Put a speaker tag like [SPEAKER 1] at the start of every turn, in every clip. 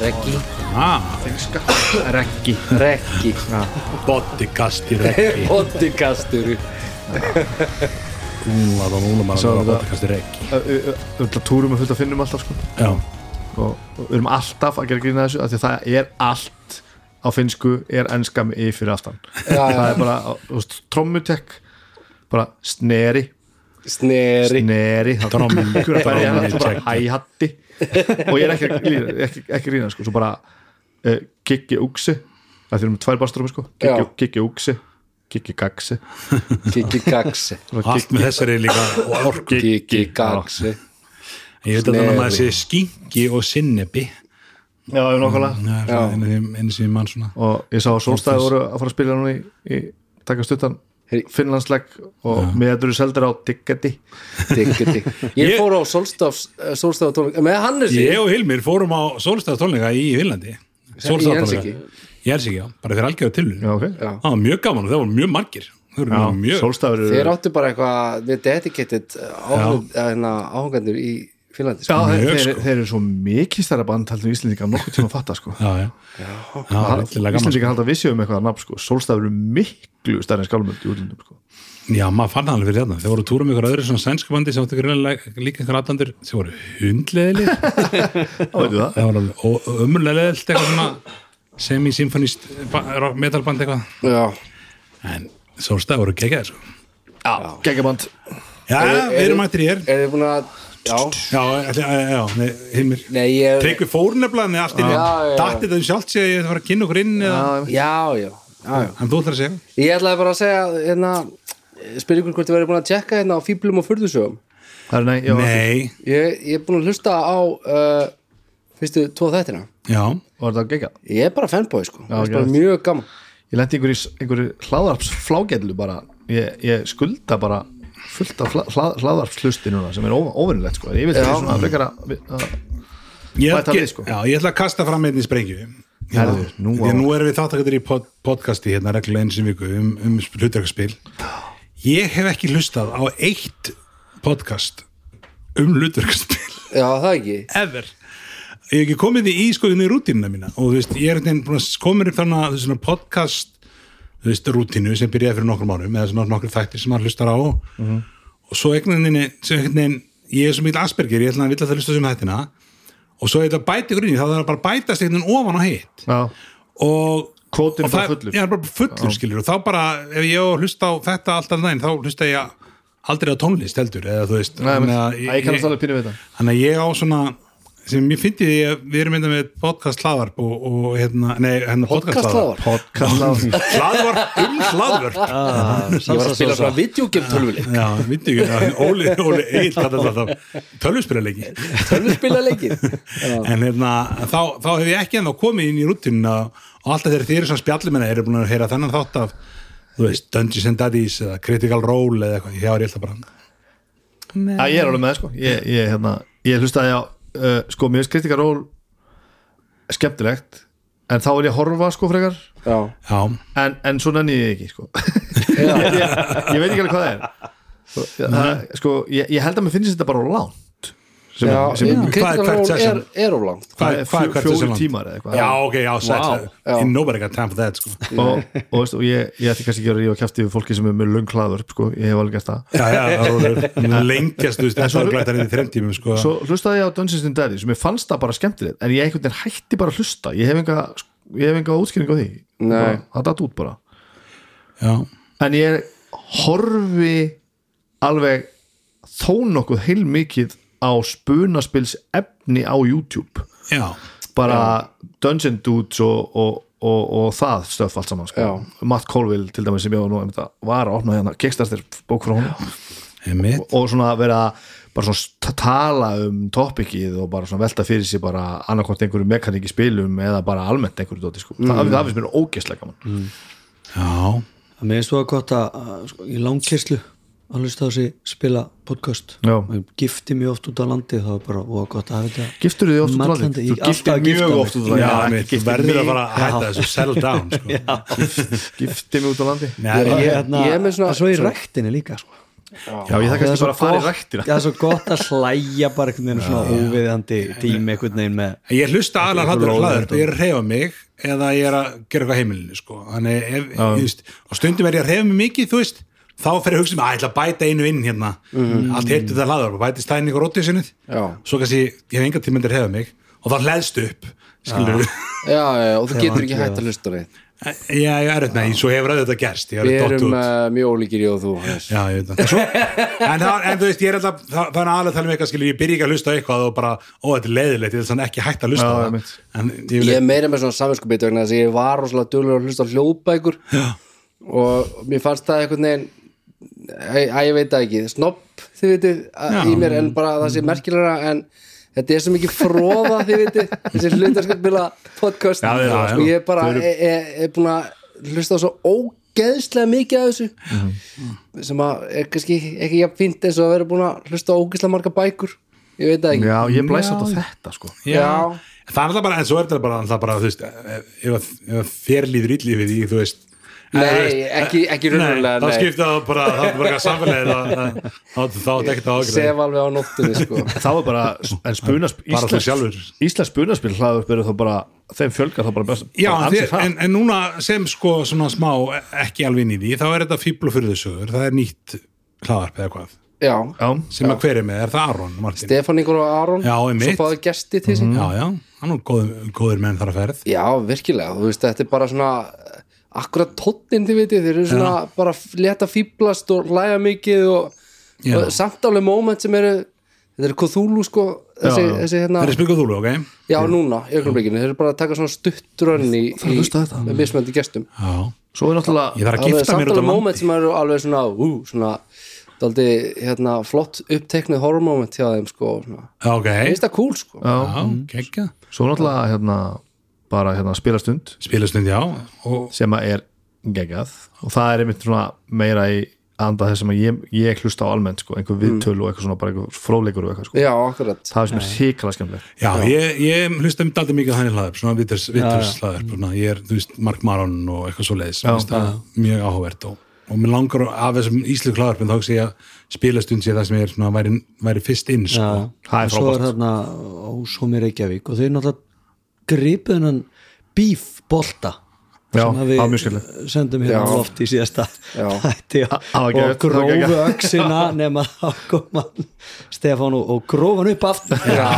[SPEAKER 1] Reggi
[SPEAKER 2] Ah, reggi
[SPEAKER 1] Reggi
[SPEAKER 3] Bottikast í reggi
[SPEAKER 1] Pottikastur
[SPEAKER 3] Núna þá núna maður að
[SPEAKER 4] Svo
[SPEAKER 3] vera
[SPEAKER 4] er það-
[SPEAKER 3] bottikast í reggi
[SPEAKER 4] Við erum túrum að fullt að finnum alltaf sko.
[SPEAKER 3] Já,
[SPEAKER 4] og, og við erum alltaf að gera grína þessu af því að það er allt á finnsku er ennskam í fyrir aftan það er bara, þú veist, trommutek bara sneri
[SPEAKER 1] Sneri
[SPEAKER 4] sneri trommutek bara
[SPEAKER 3] trommutek.
[SPEAKER 4] hæhatti og ég er ekki, að lína- ekki, ekki grína sko, svo bara uh, kikki úksi það þurfum tvær baströmi sko
[SPEAKER 1] Já.
[SPEAKER 4] kikki, kikki úksi, kikki gaksi
[SPEAKER 1] Kiki Gaxi
[SPEAKER 3] allt með þessari líka og orku
[SPEAKER 1] Kiki Gaxi
[SPEAKER 3] Ég veit að það
[SPEAKER 1] Sneri.
[SPEAKER 3] maður sé skinki og sinnebi
[SPEAKER 4] já, nokkala
[SPEAKER 1] Já.
[SPEAKER 3] eins og ég mann svona
[SPEAKER 4] og ég sá að Solstæði voru að fara að spila núna í, í taka stuttan
[SPEAKER 1] Hey.
[SPEAKER 4] Finnlandslegg og ja. meður seldur á Diggeti
[SPEAKER 1] Diggi diggi Ég
[SPEAKER 3] Ég-
[SPEAKER 1] fór á eh, Solstafs Solstaftónleika með Hannes
[SPEAKER 3] Ég og Hilmir fórum á sólstæðastólninga í Vinlandi
[SPEAKER 1] Helsinki?
[SPEAKER 3] Sólstæðastólninga Í Helsingi, já, bara þeir algjörðu tillu
[SPEAKER 4] já, ok
[SPEAKER 1] Já.
[SPEAKER 3] Það var mjög gaman og það voru mjög margir Það voru
[SPEAKER 4] Já,
[SPEAKER 3] mjög
[SPEAKER 4] Solstafur
[SPEAKER 1] Þeir
[SPEAKER 4] eru
[SPEAKER 1] áttu bara eitthvað við dedicated eh, áhengandur hérna, í Finnlandi
[SPEAKER 4] Já,
[SPEAKER 1] sko.
[SPEAKER 4] þeir,
[SPEAKER 3] Mjög,
[SPEAKER 4] þeir,
[SPEAKER 3] sko.
[SPEAKER 4] þeir eru svo mikið stærra band heldur Íslendingar nokkuð tíma að fatta sko.
[SPEAKER 3] Já, já, það var allilega gaman
[SPEAKER 4] Íslendingar halda vissi um eitthvað nafn sko. Solstafur eru miklu stærri en skálmöld í útlindum sko.
[SPEAKER 3] Já, maður fann það alveg fyrir þarna. Þeir voru að túra með ykkur öðru svona sænsku bandi sem áttu greinlega líka einhver atlandur sem voru hundleðilir.
[SPEAKER 4] Já, veitu það
[SPEAKER 3] það var alveg ömurlega leðilt eitthvað svona semi-symfonist metalband eitthvað.
[SPEAKER 1] Já,
[SPEAKER 3] En Solstæð voru geggjaðir sko.
[SPEAKER 4] Já, geggjaband
[SPEAKER 3] Já, við
[SPEAKER 1] eru-
[SPEAKER 3] erum ættir ég er.
[SPEAKER 1] er þið búin að Já,
[SPEAKER 3] Eh, Já, ætli- já, já, nei, Hilmir.
[SPEAKER 1] nei ég
[SPEAKER 3] Tryggvi fór nefnilega með allt í
[SPEAKER 1] Já, já, já.
[SPEAKER 3] Datti þetta um sjálft sé að ég ætla að fara að kynna okkur inn eða,
[SPEAKER 1] Já, já, já, já
[SPEAKER 3] en þú ætlar að segja.
[SPEAKER 1] Ég ætlaði bara að segja hérna, spyrja ykkur hvort þið verið búin að tjekka hérna á fýblum og furðusögum
[SPEAKER 4] Það er nei, já,
[SPEAKER 3] Nei,
[SPEAKER 1] Ég, ég er búin að hlusta á uh, fyrstu tvo þættina
[SPEAKER 3] já,
[SPEAKER 4] var þetta geggjað
[SPEAKER 1] Ég er bara fanboy sko,
[SPEAKER 4] Já,
[SPEAKER 1] það er bara
[SPEAKER 4] geðvægt.
[SPEAKER 1] mjög gaman
[SPEAKER 4] Ég lendi einhverju, einhverju hláðarpsflágellu bara ég, ég skulda bara fullt af hla- hla- hláðarpslusti núna sem er óvinnilegt sko. ég vil þetta svona frekar að að-
[SPEAKER 3] ég,
[SPEAKER 4] Bæta
[SPEAKER 3] ge-
[SPEAKER 4] við, sko.
[SPEAKER 3] já, ég ætla að kasta fram einnig sprengju.
[SPEAKER 4] Herðu, nú
[SPEAKER 3] Því
[SPEAKER 4] á-
[SPEAKER 3] að nú erum við þáttakandir í pod podcasti hérna reglulega eins og viku um, um hlutverkarspil Ég hef ekki hlustað á eitt podcast um hlutverkarspil
[SPEAKER 1] Já, það ekki
[SPEAKER 3] ever Ég hef ekki komið því í sko inn í rútínuna mína og þú veist, ég er einhvern veginn búin að komin upp þannig að þú veist, svona podcast þú veist, rútínu sem byrjaði fyrir nokkrum árum eða svona nokkur þættir sem maður hlustar á
[SPEAKER 4] Mhm.
[SPEAKER 3] og svo einhvern veginn, sem einhvern veginn ég er svo mikil asperger, ég ætla að vilja að það hlusta sem þættina og svo ég ætla að bæta ykkur inn í þá þarf bara að bætast einhvern veginn ofan á hitt
[SPEAKER 4] Já,
[SPEAKER 3] og
[SPEAKER 4] Kvótinn
[SPEAKER 3] og
[SPEAKER 4] er bara
[SPEAKER 3] það-
[SPEAKER 4] fullur.
[SPEAKER 3] já, hann er bara fullur skilur og þá bara, ef ég á að hlusta á þetta alltaf næn, þá hlusta ég aldrei á tónlist heldur, eða þú veist
[SPEAKER 4] Nei,
[SPEAKER 3] þannig að
[SPEAKER 4] Æ, ég kannast alveg pínu við þetta.
[SPEAKER 3] þannig að ég á svona sem ég fyndi því að við erum enda með podcast hlaðvarp og, og hérna, nei, hérna podcast
[SPEAKER 1] Podcasthlaðvarp?
[SPEAKER 3] hlaðvarp hlaðvarp um hlaðvarp
[SPEAKER 1] Ég var að spila frá videogame tölvuleik
[SPEAKER 3] já, myndi ekki, já, Óli, Óli Egil kallar þetta þá tölvuspyraleiki
[SPEAKER 1] Tölvuspila leikir
[SPEAKER 3] en hérna, þá, þá hef ég ekki ennþá komið inn í rútinu og alltaf þegar þið eru svona spjallumenn eru búin að heyra þennan þátt af þú veist, Dungeons and Daddies eða Critical Role eða eitthvað, ég var ég alltaf bara
[SPEAKER 4] Já, ég er alveg með sko Ég, ég, hérna, ég hlustaði á uh, sko, mér finnst kritikarról skemmtilegt en þá er ég að horfa sko frekar
[SPEAKER 1] Já,
[SPEAKER 3] já,
[SPEAKER 4] en, en svo nenni ég ekki sko ég, ég, ég veit ekki alveg hvað það er Svo, ja, það, sko, ég, ég held að mér finnst þetta bara á langt sem,
[SPEAKER 1] já,
[SPEAKER 4] sem
[SPEAKER 1] já.
[SPEAKER 4] er
[SPEAKER 3] Hvað er
[SPEAKER 1] Critical
[SPEAKER 3] hvert
[SPEAKER 1] Role er,
[SPEAKER 3] session?
[SPEAKER 1] er of langt
[SPEAKER 3] hvað,
[SPEAKER 4] fjó-
[SPEAKER 3] hvað er hvert þessu
[SPEAKER 4] fjórir
[SPEAKER 3] langt?
[SPEAKER 4] tímar eða eitthvað
[SPEAKER 3] já, ok, já, sætt,
[SPEAKER 1] Já.
[SPEAKER 3] nobody got time for that sko.
[SPEAKER 4] og, og, veist, og ég, ég ætti kannski ekki að rífa kjæfti við fólki sem er með löng hlaður sko, ég hef alveg gert það
[SPEAKER 3] já, já, það rólegur lengjast, þú veist, það er glætt að reyndi þrem tímum sko.
[SPEAKER 4] svo hlustaði ég á Dungeons and Daddies sem ég fannst það bara skemmtilegt en ég einhvern veginn hætti bara að hlusta ég hef enga, ég hef enga útskýring á því
[SPEAKER 1] Nei.
[SPEAKER 4] Bara- það datt út bara
[SPEAKER 3] já,
[SPEAKER 4] en ég horfi alveg þó nokkuð heilmikið á spunaspils efni á YouTube
[SPEAKER 3] já
[SPEAKER 4] bara Dungeon Dudes og, og, og, og það stöf allt saman sko. Matt Colville til dæmis sem ég var nú einmitt að var að opna hérna Kickstarter bók frá honum
[SPEAKER 3] Einmitt.
[SPEAKER 4] og svona vera bara svona st- tala um topikið og bara svona velta fyrir sér bara annarkort einhverju mekaník í spilum eða bara almennt einhverju dóti sko. það, það finnst mér ógeðslega gaman
[SPEAKER 3] Já,
[SPEAKER 5] að mér er svo gott að, að sko, í langkerslu að hlusta á þessi spila podcast
[SPEAKER 4] Já.
[SPEAKER 5] Ég gifti mjög oft út á landi þá er bara og gott að hafa þetta
[SPEAKER 4] Giftur þið oft út á landi?
[SPEAKER 5] Mallandi,
[SPEAKER 4] Þú
[SPEAKER 5] ég-
[SPEAKER 4] giftir
[SPEAKER 5] alltaf að gifta
[SPEAKER 4] mjög
[SPEAKER 5] mig.
[SPEAKER 4] oft út á
[SPEAKER 3] já,
[SPEAKER 4] landi
[SPEAKER 3] einmitt, þú verður að fara að hætta þessu sell down sko.
[SPEAKER 4] Gifti mig út á landi
[SPEAKER 3] Nei, það
[SPEAKER 5] ég,
[SPEAKER 3] er-
[SPEAKER 5] hérna,
[SPEAKER 1] ég er með svona-
[SPEAKER 5] en svo í
[SPEAKER 1] sorry.
[SPEAKER 5] ræktinni líka sko.
[SPEAKER 4] Já, ég þakka
[SPEAKER 5] Það er
[SPEAKER 4] kannski
[SPEAKER 5] svo
[SPEAKER 4] bara að fara í
[SPEAKER 5] gott-
[SPEAKER 4] ræktina
[SPEAKER 5] Já, það er svo gott að hlæja bara einhvern veginn svona óviðandi tími einhvern veginn með
[SPEAKER 3] Ég hlusta aðlar hattur og hlaður ég er að reyfa mig eða ég er að gera eitthvað á heimilinu sko. Þannig, ef, ég veist, og stundum er ég að reyfa mig mikið þú veist, þá fer ég að hugsa mig að ég ætla að bæta einu inn hérna, allt heyrtu það hlaður bætist það inn í rótisinuð
[SPEAKER 1] Já.
[SPEAKER 3] svo kannski, ég hef enga tíma til að reyfa mig og þá hlæðst upp skilur
[SPEAKER 1] já, já, og þú getur ekki hægt að hlusta á neitt
[SPEAKER 3] já, ég er þetta, svo hefur þetta gerst ég er
[SPEAKER 1] við
[SPEAKER 3] að dotta
[SPEAKER 1] erum
[SPEAKER 3] út.
[SPEAKER 1] uh, mjög ólíkir ég og þú Hannes.
[SPEAKER 3] Já, ég veit það. En Svo, en, það, en þú veist, ég er alltaf, það, það er aðlega að tala um eitthvað, skilur, ég byrja ekki að hlusta á eitthvað og bara, ó, þetta er leiðilegt, ég er þannig ekki hægt að hlusta á
[SPEAKER 4] Já,
[SPEAKER 3] það.
[SPEAKER 4] einmitt.
[SPEAKER 3] En ég vil,
[SPEAKER 1] ég er meira með svona saminskupið vegna þess að ég var rosalega dölur að hlusta á hljóðbækur já. og mér fannst það einhvern veginn að, að ég veit það ekki, snopp þið veitir að- í mér en bara að það sé merkilega en þetta er svo mikið fróða þið veitir, þessi hlutarskapbila podcast
[SPEAKER 3] Já, já, já.
[SPEAKER 1] og ég er bara
[SPEAKER 3] Þau eru-
[SPEAKER 1] er, er, er búin að hlusta á svo ógeðslega mikið af þessu
[SPEAKER 3] Mhm.
[SPEAKER 1] sem að er kannski ekki jafn fínt eins og að vera búin að hlusta á ógeðslega marga bækur ég veit það ekki
[SPEAKER 4] Já, ég blæst alltaf þetta sko
[SPEAKER 3] já. Það er alltaf bara, en svo er þetta bara, alltaf bara, þú veist, ef, ef, ef þér líður illi við því, þú veist. eða,
[SPEAKER 1] Nei,
[SPEAKER 3] þú veist,
[SPEAKER 1] ekki- ekki raunverulega,
[SPEAKER 3] Nei,
[SPEAKER 1] nei.
[SPEAKER 3] þá skipta það bara, þá er bara eitthvað samfélagið, þá- þá- þá þá er ekkert að ágreða.
[SPEAKER 1] sef alveg á nóttunni sko
[SPEAKER 4] Þá er bara, en spunaspil
[SPEAKER 3] Bara þú sjálfur.
[SPEAKER 4] Íslands spunaspil hlaður byrjuð þá bara þeim fjölgar þá bara best
[SPEAKER 3] Já,
[SPEAKER 4] bara
[SPEAKER 3] en,
[SPEAKER 4] ansi
[SPEAKER 3] þér,
[SPEAKER 4] hratt.
[SPEAKER 3] en, en núna sem sko svona smá ekki alveg inn í því, þá er þetta fíbl og fyrðusögur, það er nýtt hlaðarp eða hvað,
[SPEAKER 1] já,
[SPEAKER 4] Já,
[SPEAKER 3] sem að hver er með, er það Aron Martin?
[SPEAKER 1] Stefán Ingur og Aron
[SPEAKER 3] Já,
[SPEAKER 1] svo
[SPEAKER 3] einmitt. Mhm.
[SPEAKER 1] fáðu gesti til sín
[SPEAKER 3] Já, já, hann er góð, góður menn þar að ferð
[SPEAKER 1] já, virkilega, þú veist, þetta er bara svona akkurat tóttin, þið veitir þeir eru svona bara leta fýblast og læja mikið og,
[SPEAKER 3] Já.
[SPEAKER 1] og samt alveg moment sem eru þetta eru Cthulhu sko þessi,
[SPEAKER 4] Já, já.
[SPEAKER 1] þessi hérna,
[SPEAKER 3] Það er spilkuð þúlu, ok?
[SPEAKER 1] já núna, í augnablikinu, þeir eru bara að taka svona stuttrönn í, í
[SPEAKER 4] hlusta á þetta.
[SPEAKER 1] með mismöndi gestum
[SPEAKER 3] Já,
[SPEAKER 4] svo er náttúrulega
[SPEAKER 3] ég þarf að
[SPEAKER 1] alveg
[SPEAKER 3] gifta
[SPEAKER 1] samt
[SPEAKER 3] mér út
[SPEAKER 1] alveg
[SPEAKER 3] á
[SPEAKER 1] moment
[SPEAKER 3] landi
[SPEAKER 1] sem eru alveg svona, ú, svona daldi, hérna, flott uppteknuð horror moment hjá þeim sko, og svona.
[SPEAKER 3] Já, Ok,
[SPEAKER 1] finnst það cool sko
[SPEAKER 3] já, kekka
[SPEAKER 4] Svo er náttúrulega hérna bara hérna spilastund
[SPEAKER 3] Spilastund, já og,
[SPEAKER 4] sem að er geggjað og það er einmitt svona meira í anda þess sem að ég, ég hlusta á almennt sko,
[SPEAKER 5] Mm.
[SPEAKER 4] einhver viðtöl og eitthvað svona bara einhver fróðleikur og eitthvað sko.
[SPEAKER 1] já, akkurat
[SPEAKER 4] það sem er hrikalega skemmtilegt
[SPEAKER 3] Já, ég, ég hlusta um daldi mikið á þannig hlaðarp svona viturs, viturs hlaðarp svona, ég er, þú veist, Mark Maron og eitthvað svo leiðis mjög áhugavert og, og mér langar af þessum íslu hlaðarpin þá sé ég að spilastund sé það sem ég er svona, væri, væri fyrst inn, sko
[SPEAKER 4] Það er
[SPEAKER 5] og svo er
[SPEAKER 4] frábært.
[SPEAKER 5] þarna Ósómi Reykjavík og þau náttúrulega gripu hennan bíf bolta
[SPEAKER 4] Já,
[SPEAKER 5] sem að
[SPEAKER 4] það var mjög
[SPEAKER 5] við
[SPEAKER 4] skemmtilegt.
[SPEAKER 5] sendum hérna
[SPEAKER 1] Já.
[SPEAKER 5] loft í síðasta þætti
[SPEAKER 4] það var geðveikt,
[SPEAKER 5] og
[SPEAKER 4] það var
[SPEAKER 5] grófu
[SPEAKER 4] geðveikt.
[SPEAKER 5] öxina nema þá kom hann Stefán og, og grófan upp aftur já,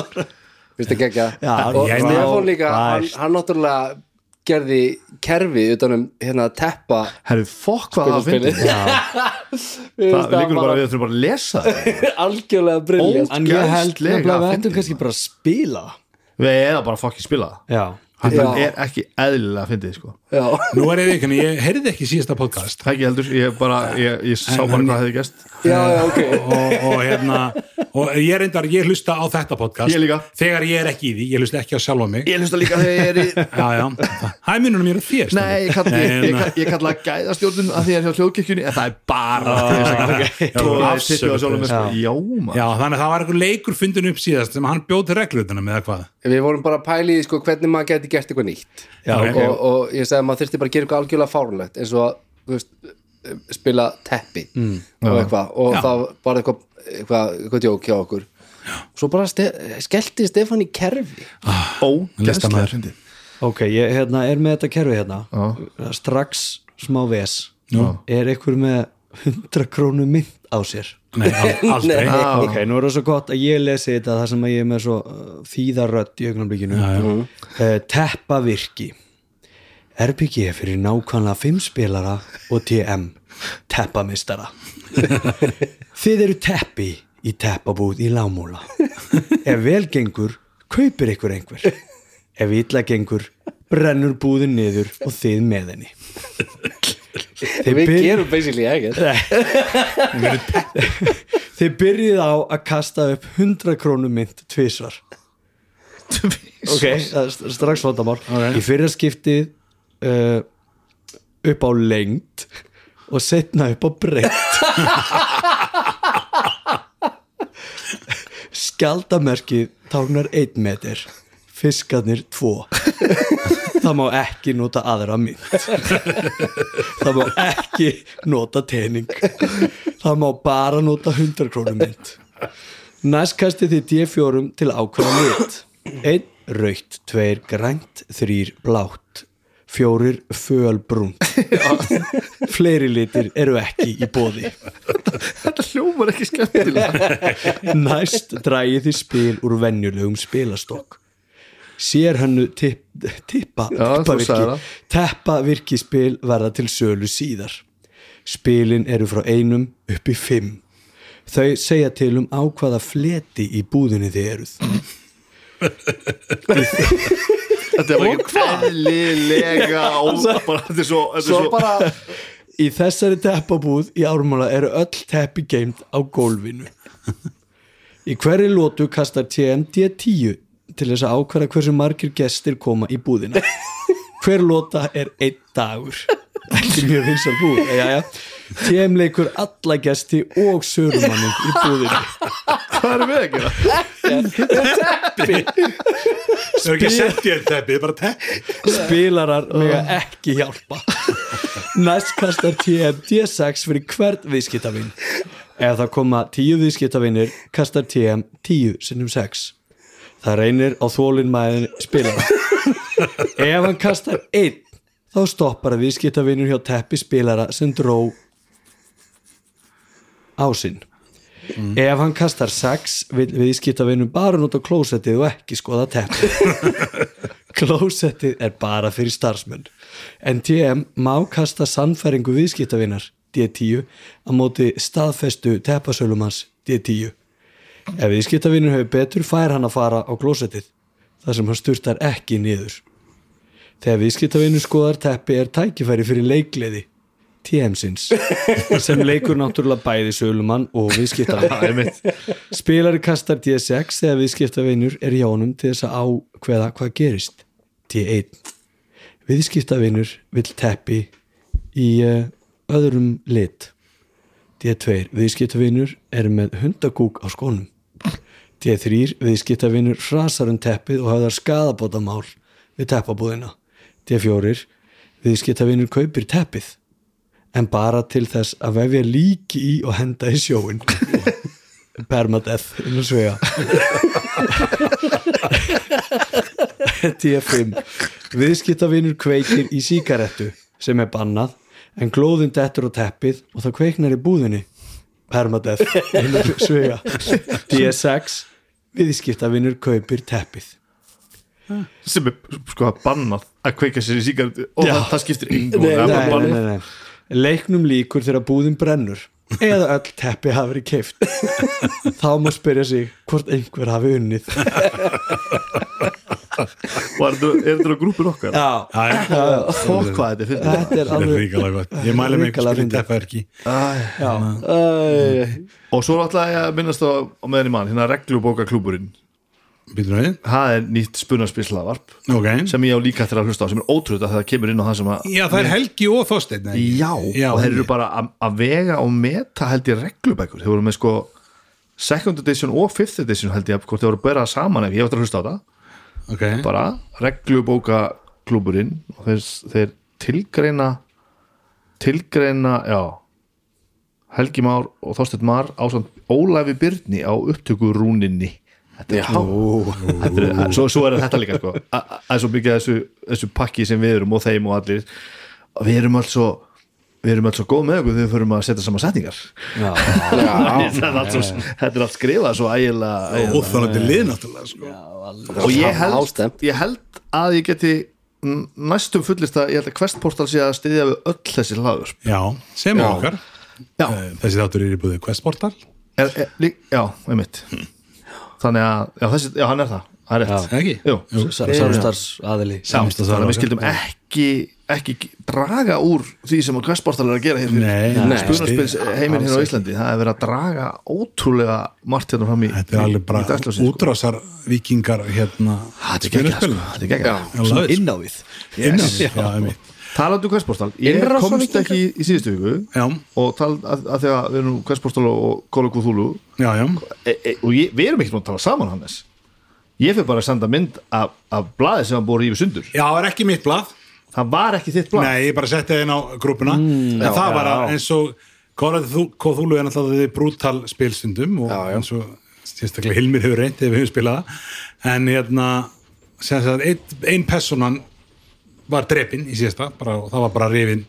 [SPEAKER 1] finnst það gekkja
[SPEAKER 5] Já,
[SPEAKER 1] og
[SPEAKER 3] ég-
[SPEAKER 1] Stefán líka,
[SPEAKER 5] Það er-
[SPEAKER 1] hann, hann náttúrulega gerði kerfi utanum hérna að teppa
[SPEAKER 4] Herri, fokk hvað það
[SPEAKER 1] Spilaspilið.
[SPEAKER 4] finnir Það líkur bara við þurfum bara að lesa það.
[SPEAKER 1] algjörlega brilljant
[SPEAKER 5] en ég
[SPEAKER 4] Ógeðslega
[SPEAKER 5] held nefnilega að við ættum
[SPEAKER 4] fyndið.
[SPEAKER 5] kannski bara að spila
[SPEAKER 4] Við eða bara fokk í spila það.
[SPEAKER 5] já,
[SPEAKER 4] Þetta
[SPEAKER 1] Já.
[SPEAKER 4] er ekki eðlilega fyndið sko.
[SPEAKER 1] já,
[SPEAKER 3] Nú er ég ekki, ég heyrði ekki síðasta podcast
[SPEAKER 4] Það ekki heldur, ég bara ég, ég sá bara hvað hefði gæst
[SPEAKER 1] já, já, ok
[SPEAKER 3] og, og hérna og ég reyndar, ég hlusta á þetta podcast
[SPEAKER 4] Ég líka.
[SPEAKER 3] þegar ég er ekki í því, ég hlusta ekki á sjálfa mig
[SPEAKER 4] Ég hlusta líka þegar ég er í
[SPEAKER 3] já, já, það er mununum ég er á þér hérna.
[SPEAKER 4] Nei, ég kalla, ég,
[SPEAKER 3] En,
[SPEAKER 4] ég, kalla- ég kalla gæðastjórnum að því að hjá hljóðkirkjunni en það er bara til þess að- Tóra
[SPEAKER 3] Já,
[SPEAKER 4] þær tippið á sjálfum mér, sko.
[SPEAKER 5] Já.
[SPEAKER 4] Já,
[SPEAKER 3] já,
[SPEAKER 4] maður
[SPEAKER 3] þannig að það var einhver leikur fundin upp síðast sem hann bjóð til reglutuna með hvað
[SPEAKER 1] við vorum bara að pæli í því, sko hvernig maður geti gert eitthvað nýtt
[SPEAKER 3] já,
[SPEAKER 1] og, og ég sagði að maður þyrfti bara að gera eitthvað algjörlega fárlegt eins og að, þú veist, spila teppi og eitthvað og
[SPEAKER 3] Já.
[SPEAKER 1] það var eitthvað, eitthvað, eitthvað jók hjá okkur svo bara ste skellti Stefán í kerfi
[SPEAKER 4] Ógæðslega
[SPEAKER 3] Listamaður.
[SPEAKER 4] fyndið
[SPEAKER 5] ok, ég hérna, er með þetta kerfi hérna strax smá ves er einhver með 100 krónu mynd á sér
[SPEAKER 3] nei, al- aldrei
[SPEAKER 1] Nei.
[SPEAKER 4] Já.
[SPEAKER 5] Ah, ok, nú er það svo gott að ég lesi þetta þar sem að ég er með svo uh, þýðarödd í augnablikinu uh, teppa virki RPG fyrir nákvæmlega 5 spilara og TM teppamistara þið eru teppi í teppabúð í lámúla ef vel gengur, kaupir ykkur einhver Ef illa gengur, brennur búðin niður og þið með henni Þeir
[SPEAKER 1] Við
[SPEAKER 5] byr-
[SPEAKER 1] gerum basically ekkert
[SPEAKER 5] Þið byrjið á að kasta upp 100 krónum mynd tvisvar Ok, það er st- strax vandamál Í fyrra skiptið uh, upp á lengd og setna upp á breytt Skjaldamerkið táknar 1 meter fiskarnir 2 Það má ekki nota aðra mynd Það má ekki nota tening Það má bara nota 100 krónum mynd Næst kastið þið D4 til ákveða lit. Einn raukt, tveir grænt, þrýr blátt, fjórir fölbrúnt. Fleiri litir eru ekki í bóði.
[SPEAKER 4] Þetta hljómar ekki skemmtilega
[SPEAKER 5] Næst drægið þið spil úr venjulegum spilastokk. Sér hannu tipp, tippa,
[SPEAKER 4] Já, þú sagðir
[SPEAKER 5] tippavirki,
[SPEAKER 4] það.
[SPEAKER 5] teppavirki spil verða til sölu síðar. Spilin eru frá einum upp í fimm. Þau segja til um á hvaða fleti í búðinni þið eruð.
[SPEAKER 4] Þetta er bara ekki eðlilega ó- bara- Þetta er svo, þetta er svo,
[SPEAKER 5] bara Í þessari teppabúð í ármála eru öll teppi geimt á gólfinu Í hverri lótu kastar TMD 10 til þess að ákværa hversu margir gestir koma í búðina Hver lóta er einn dagur Ekki mjög vinsal búð eh, Jæja, TM leikur alla gesti og sörumannum í búðinu
[SPEAKER 4] hvað erum við að gera?
[SPEAKER 3] Það er ekki að setja þér teppið, bara teppið
[SPEAKER 5] spilarar mega ekki hjálpa næst kastar TM D6 fyrir hvert viðskiptavinn ef það koma 10 viðskiptavinnir kastar TM 10 sinnum 6 það reynir á þólinmæðin spilara ef hann kastar 1 þá stoppar að viðskiptavinnur hjá teppi spilara sem dró ásinn Ef hann kastar 6 vil viðskiptavinnum bara nota klósettið og ekki skoða teppi Klósettið er bara fyrir starfsmenn en TM má kasta sannfæringu viðskiptavinnar D10 á móti staðfestu teppasölumans D10 Ef viðskiptavinnur hefur betur fær hann að fara á klósettið þar sem hann sturtar ekki niður Þegar viðskiptavinnur skoðar teppi er tækifæri fyrir leikleði TM-sins sem leikur náttúrulega bæði sölumann og viðskiptavinnur Spilari kastar D6 þegar viðskiptavinnur er hjá honum til þess að ákveða hvað gerist D1 Viðskiptavinnur vill teppi í eh, öðrum lit D2 Viðskiptavinnur er með hundagúk á skónum D3 viðskiptavinnur hrasar um teppið og höfðar skadabótamál við teppabúðina. D4 viðskiptavinnur kaupir teppið en bara til þess að vefja líki í og henda í sjóin. Permadeath inn og svega. D5 viðskiptavinnur kveikir í síkarettu sem er bannað en glóðin dettur á teppið og það kveiknar í búðinni. Permadeath inn og svega. D6 viðskiptavinnur kaupir teppið
[SPEAKER 4] sem er sko að bannað að kveika sér í sígarettu og
[SPEAKER 5] Já.
[SPEAKER 4] það, það skiptir yngur
[SPEAKER 5] nei,
[SPEAKER 4] það er
[SPEAKER 5] nei,
[SPEAKER 4] bara
[SPEAKER 5] nei,
[SPEAKER 4] bannað
[SPEAKER 5] nei, nei. leiknum líkur þegar búðin brennur eða öll teppi hafi verið keift þá má spyrja sig hvort einhver hafi unnið
[SPEAKER 4] og er þetta- er þetta á grúpur okkar?
[SPEAKER 5] já,
[SPEAKER 4] Fólk hvað þetta er fyndið.
[SPEAKER 5] þetta er
[SPEAKER 3] Það er
[SPEAKER 5] alveg
[SPEAKER 3] ríkalega gott Ég mæli mig
[SPEAKER 5] Hrikalega
[SPEAKER 3] spilin
[SPEAKER 5] fyndið.
[SPEAKER 3] teppaverki
[SPEAKER 4] og svo ætla ég að minnast á, á meðan í mann hérna reglubóka klúburinn
[SPEAKER 3] Býtur við
[SPEAKER 4] það er nýtt spunarspislavarp
[SPEAKER 3] Ok
[SPEAKER 4] sem ég á líka til að hlusta á sem er ótrúð að það kemur inn á það sem að
[SPEAKER 3] Já, það er Helgi og Þorsteinn eða ekki?
[SPEAKER 4] Já,
[SPEAKER 3] Já,
[SPEAKER 4] og þeir eru bara að- að vega og meta held ég reglubækur þeir voru með sko second edition og fifth edition held ég hvort þeir voru bara saman ef ég ætla að hlusta á það
[SPEAKER 3] Ok,
[SPEAKER 4] bara reglubóka klúburinn og þeir, þeir tilgreina tilgreina, já Helgi Már og Þorsteinn Már ásamt Ólafi Byrni á upptöku rúninni Þetta er há Þetta er- svo, svo er þetta líka sko A- a- að svo mikið af þessu, þessu pakki sem við erum og þeim og allir við erum alls svo við erum alls svo góð með okkur þegar við förum að setja saman setningar þetta, er allt svo, þetta er allt skrifað svo ægilega ægilega-
[SPEAKER 3] óþálandi lið náttúrulega sko.
[SPEAKER 4] og ég held,
[SPEAKER 1] Hástemt.
[SPEAKER 4] ég held að ég geti n- næstum fullist að ég held að questportal sé að styðja við öll þessi hlaður
[SPEAKER 3] Já, sem og okkar
[SPEAKER 4] Já.
[SPEAKER 3] Eh, Þessi þáttur er í búið Questportal Hmm.
[SPEAKER 4] er, er, lí, já, einmitt þannig að, já, þessi, já, hann er það það er rétt
[SPEAKER 3] Ekki?
[SPEAKER 4] Jú.
[SPEAKER 3] Jú.
[SPEAKER 5] samstars aðili
[SPEAKER 4] Þannig að við skildum ekki, ekki draga úr því sem að kvestbortal er að gera hér
[SPEAKER 3] Nei,
[SPEAKER 4] fyrir
[SPEAKER 3] nei.
[SPEAKER 4] spunarspils heiminn hér á Íslandi það er verið að draga ótrúlega margt hérna fram í
[SPEAKER 3] Þetta er alveg bara
[SPEAKER 4] dagslasið sko.
[SPEAKER 3] útrásar vikingar hérna
[SPEAKER 4] Þetta er geggjað, sko.
[SPEAKER 3] spilaspilinu.
[SPEAKER 4] Þetta er geggjað.
[SPEAKER 3] I love it.
[SPEAKER 5] inn á við
[SPEAKER 3] Innan, já, einmitt.
[SPEAKER 4] Talandi um kvestbortal Ég
[SPEAKER 1] Innrás á
[SPEAKER 4] komst
[SPEAKER 1] Víkinga?
[SPEAKER 4] ekki í, í síðustu viku
[SPEAKER 3] Já.
[SPEAKER 4] og talað að, að því að við erum kvestbortal og Kólaku Þúlu
[SPEAKER 3] já, já,
[SPEAKER 4] e, e, og ég, við erum ekki nú að tala saman Hannes Ég fyrir bara að senda mynd af, af blaði sem hann búið rífið sundur
[SPEAKER 3] já, er ekki mitt blað
[SPEAKER 4] Það var ekki þitt blað
[SPEAKER 3] Nei, ég bara setti það inn á grúpuna
[SPEAKER 1] Mm.
[SPEAKER 3] en það var að eins og Kóðúlu er náttúrulega þið brútal spilstundum og eins og sérstaklega Hilmir hefur reynt ef við höfum spilað það. en hérna sem sagt, ein, ein personan var drepin í síðasta bara, og það var bara rifin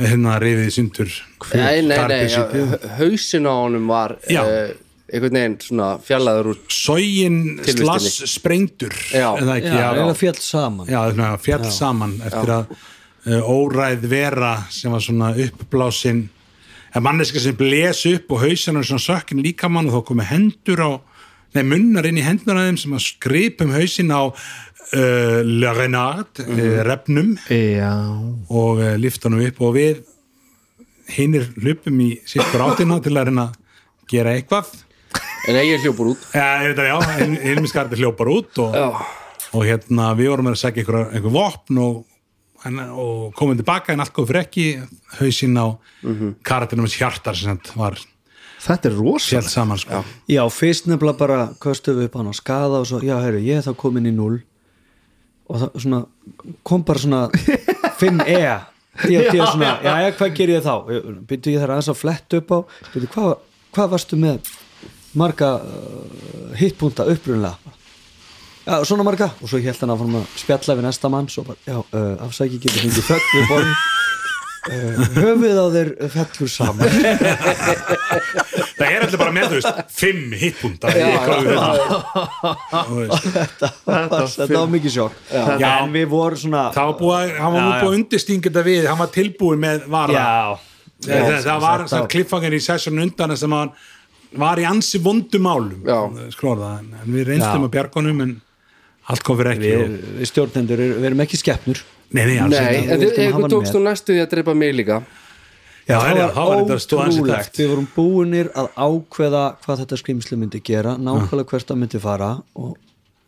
[SPEAKER 3] hérna rifið í sundur
[SPEAKER 1] nei, nei, nei, já,
[SPEAKER 3] Karpisítið.
[SPEAKER 1] hausin á honum var
[SPEAKER 3] Já.
[SPEAKER 1] eh, einhvern veginn svona fjallaður úr
[SPEAKER 3] Sogin
[SPEAKER 1] Tilvistinni.
[SPEAKER 3] slass sprengdur
[SPEAKER 1] Já.
[SPEAKER 3] en það ekki,
[SPEAKER 5] já,
[SPEAKER 3] já,
[SPEAKER 5] eða fjall saman
[SPEAKER 3] já, svona, fjall saman eftir að uh, óræð vera sem var svona uppblásin en manneska sem bles upp og hausinn er svona sökkin líkamann og þá komi hendur á nei, munnar inn í hendur að þeim sem að skripum hausinn á uh, Le Renard, uh, refnum
[SPEAKER 4] Já
[SPEAKER 3] og uh, lifta hann upp og við hinnir hlupum í sittur áttina til að reyna að gera eitthvað
[SPEAKER 1] en eigin hljópur út
[SPEAKER 3] Já, ég veit að já, Hilmi Skardi hljópar út og, og hérna, við vorum að segja einhver, einhver vopn og, en, og komum tilbaka en allt góð fyrir ekki hausinn á mm -hmm. hans hjartar sem sagt var
[SPEAKER 4] Þetta er rosa
[SPEAKER 3] sjálf saman sko.
[SPEAKER 5] já, fyrst nefnilega bara köstum við upp hann á skaða og svo, já, herru, ég er þá komin í null og það svona kom bara svona 5E því að því að svona, já, já, hvað ger ég þá byrju ég þar aðeins að fletta upp á byrju, hvað, hvað varstu með marga uh, hittpunta upprunlega já, svona marga og svo held hann að fórum að spjalla við næsta mann svo bara, já, uh, afsæki getur fengið fögn við borðum uh, höfuð á þér fellur saman
[SPEAKER 3] það er allir bara með, þú veist, fimm hittpunta
[SPEAKER 1] Já,
[SPEAKER 3] hérna,
[SPEAKER 5] þetta, þetta var mikið sjokk
[SPEAKER 3] Já.
[SPEAKER 5] en við vorum svona
[SPEAKER 3] það var búið, að- hann var nú
[SPEAKER 5] Já, já.
[SPEAKER 3] búið að undirstinga þetta við, hann var tilbúið með vara
[SPEAKER 5] já,
[SPEAKER 3] Þegar það, það var
[SPEAKER 5] Þetta-
[SPEAKER 3] samt kliffangin í sessun undan sem hann var í ansi vondum málum
[SPEAKER 1] Já.
[SPEAKER 3] skrorða, en, en við reynstum
[SPEAKER 5] Já.
[SPEAKER 3] að bjargunum en allt kom fyrir ekki
[SPEAKER 5] við,
[SPEAKER 3] og,
[SPEAKER 5] við stjórnendur er- við erum ekki skeppnur
[SPEAKER 3] nei, nei, alls
[SPEAKER 1] nei,
[SPEAKER 3] ekki.
[SPEAKER 1] en
[SPEAKER 5] Við vildum hafa
[SPEAKER 1] þú
[SPEAKER 5] hann
[SPEAKER 1] tókst
[SPEAKER 5] með.
[SPEAKER 1] þú næstu því að drepa mig líka
[SPEAKER 3] Já, það var, var þetta stóð ansi tækt
[SPEAKER 5] við vorum búinir að ákveða hvað þetta skrimsli myndi gera nákvæmlega hvert það myndi fara og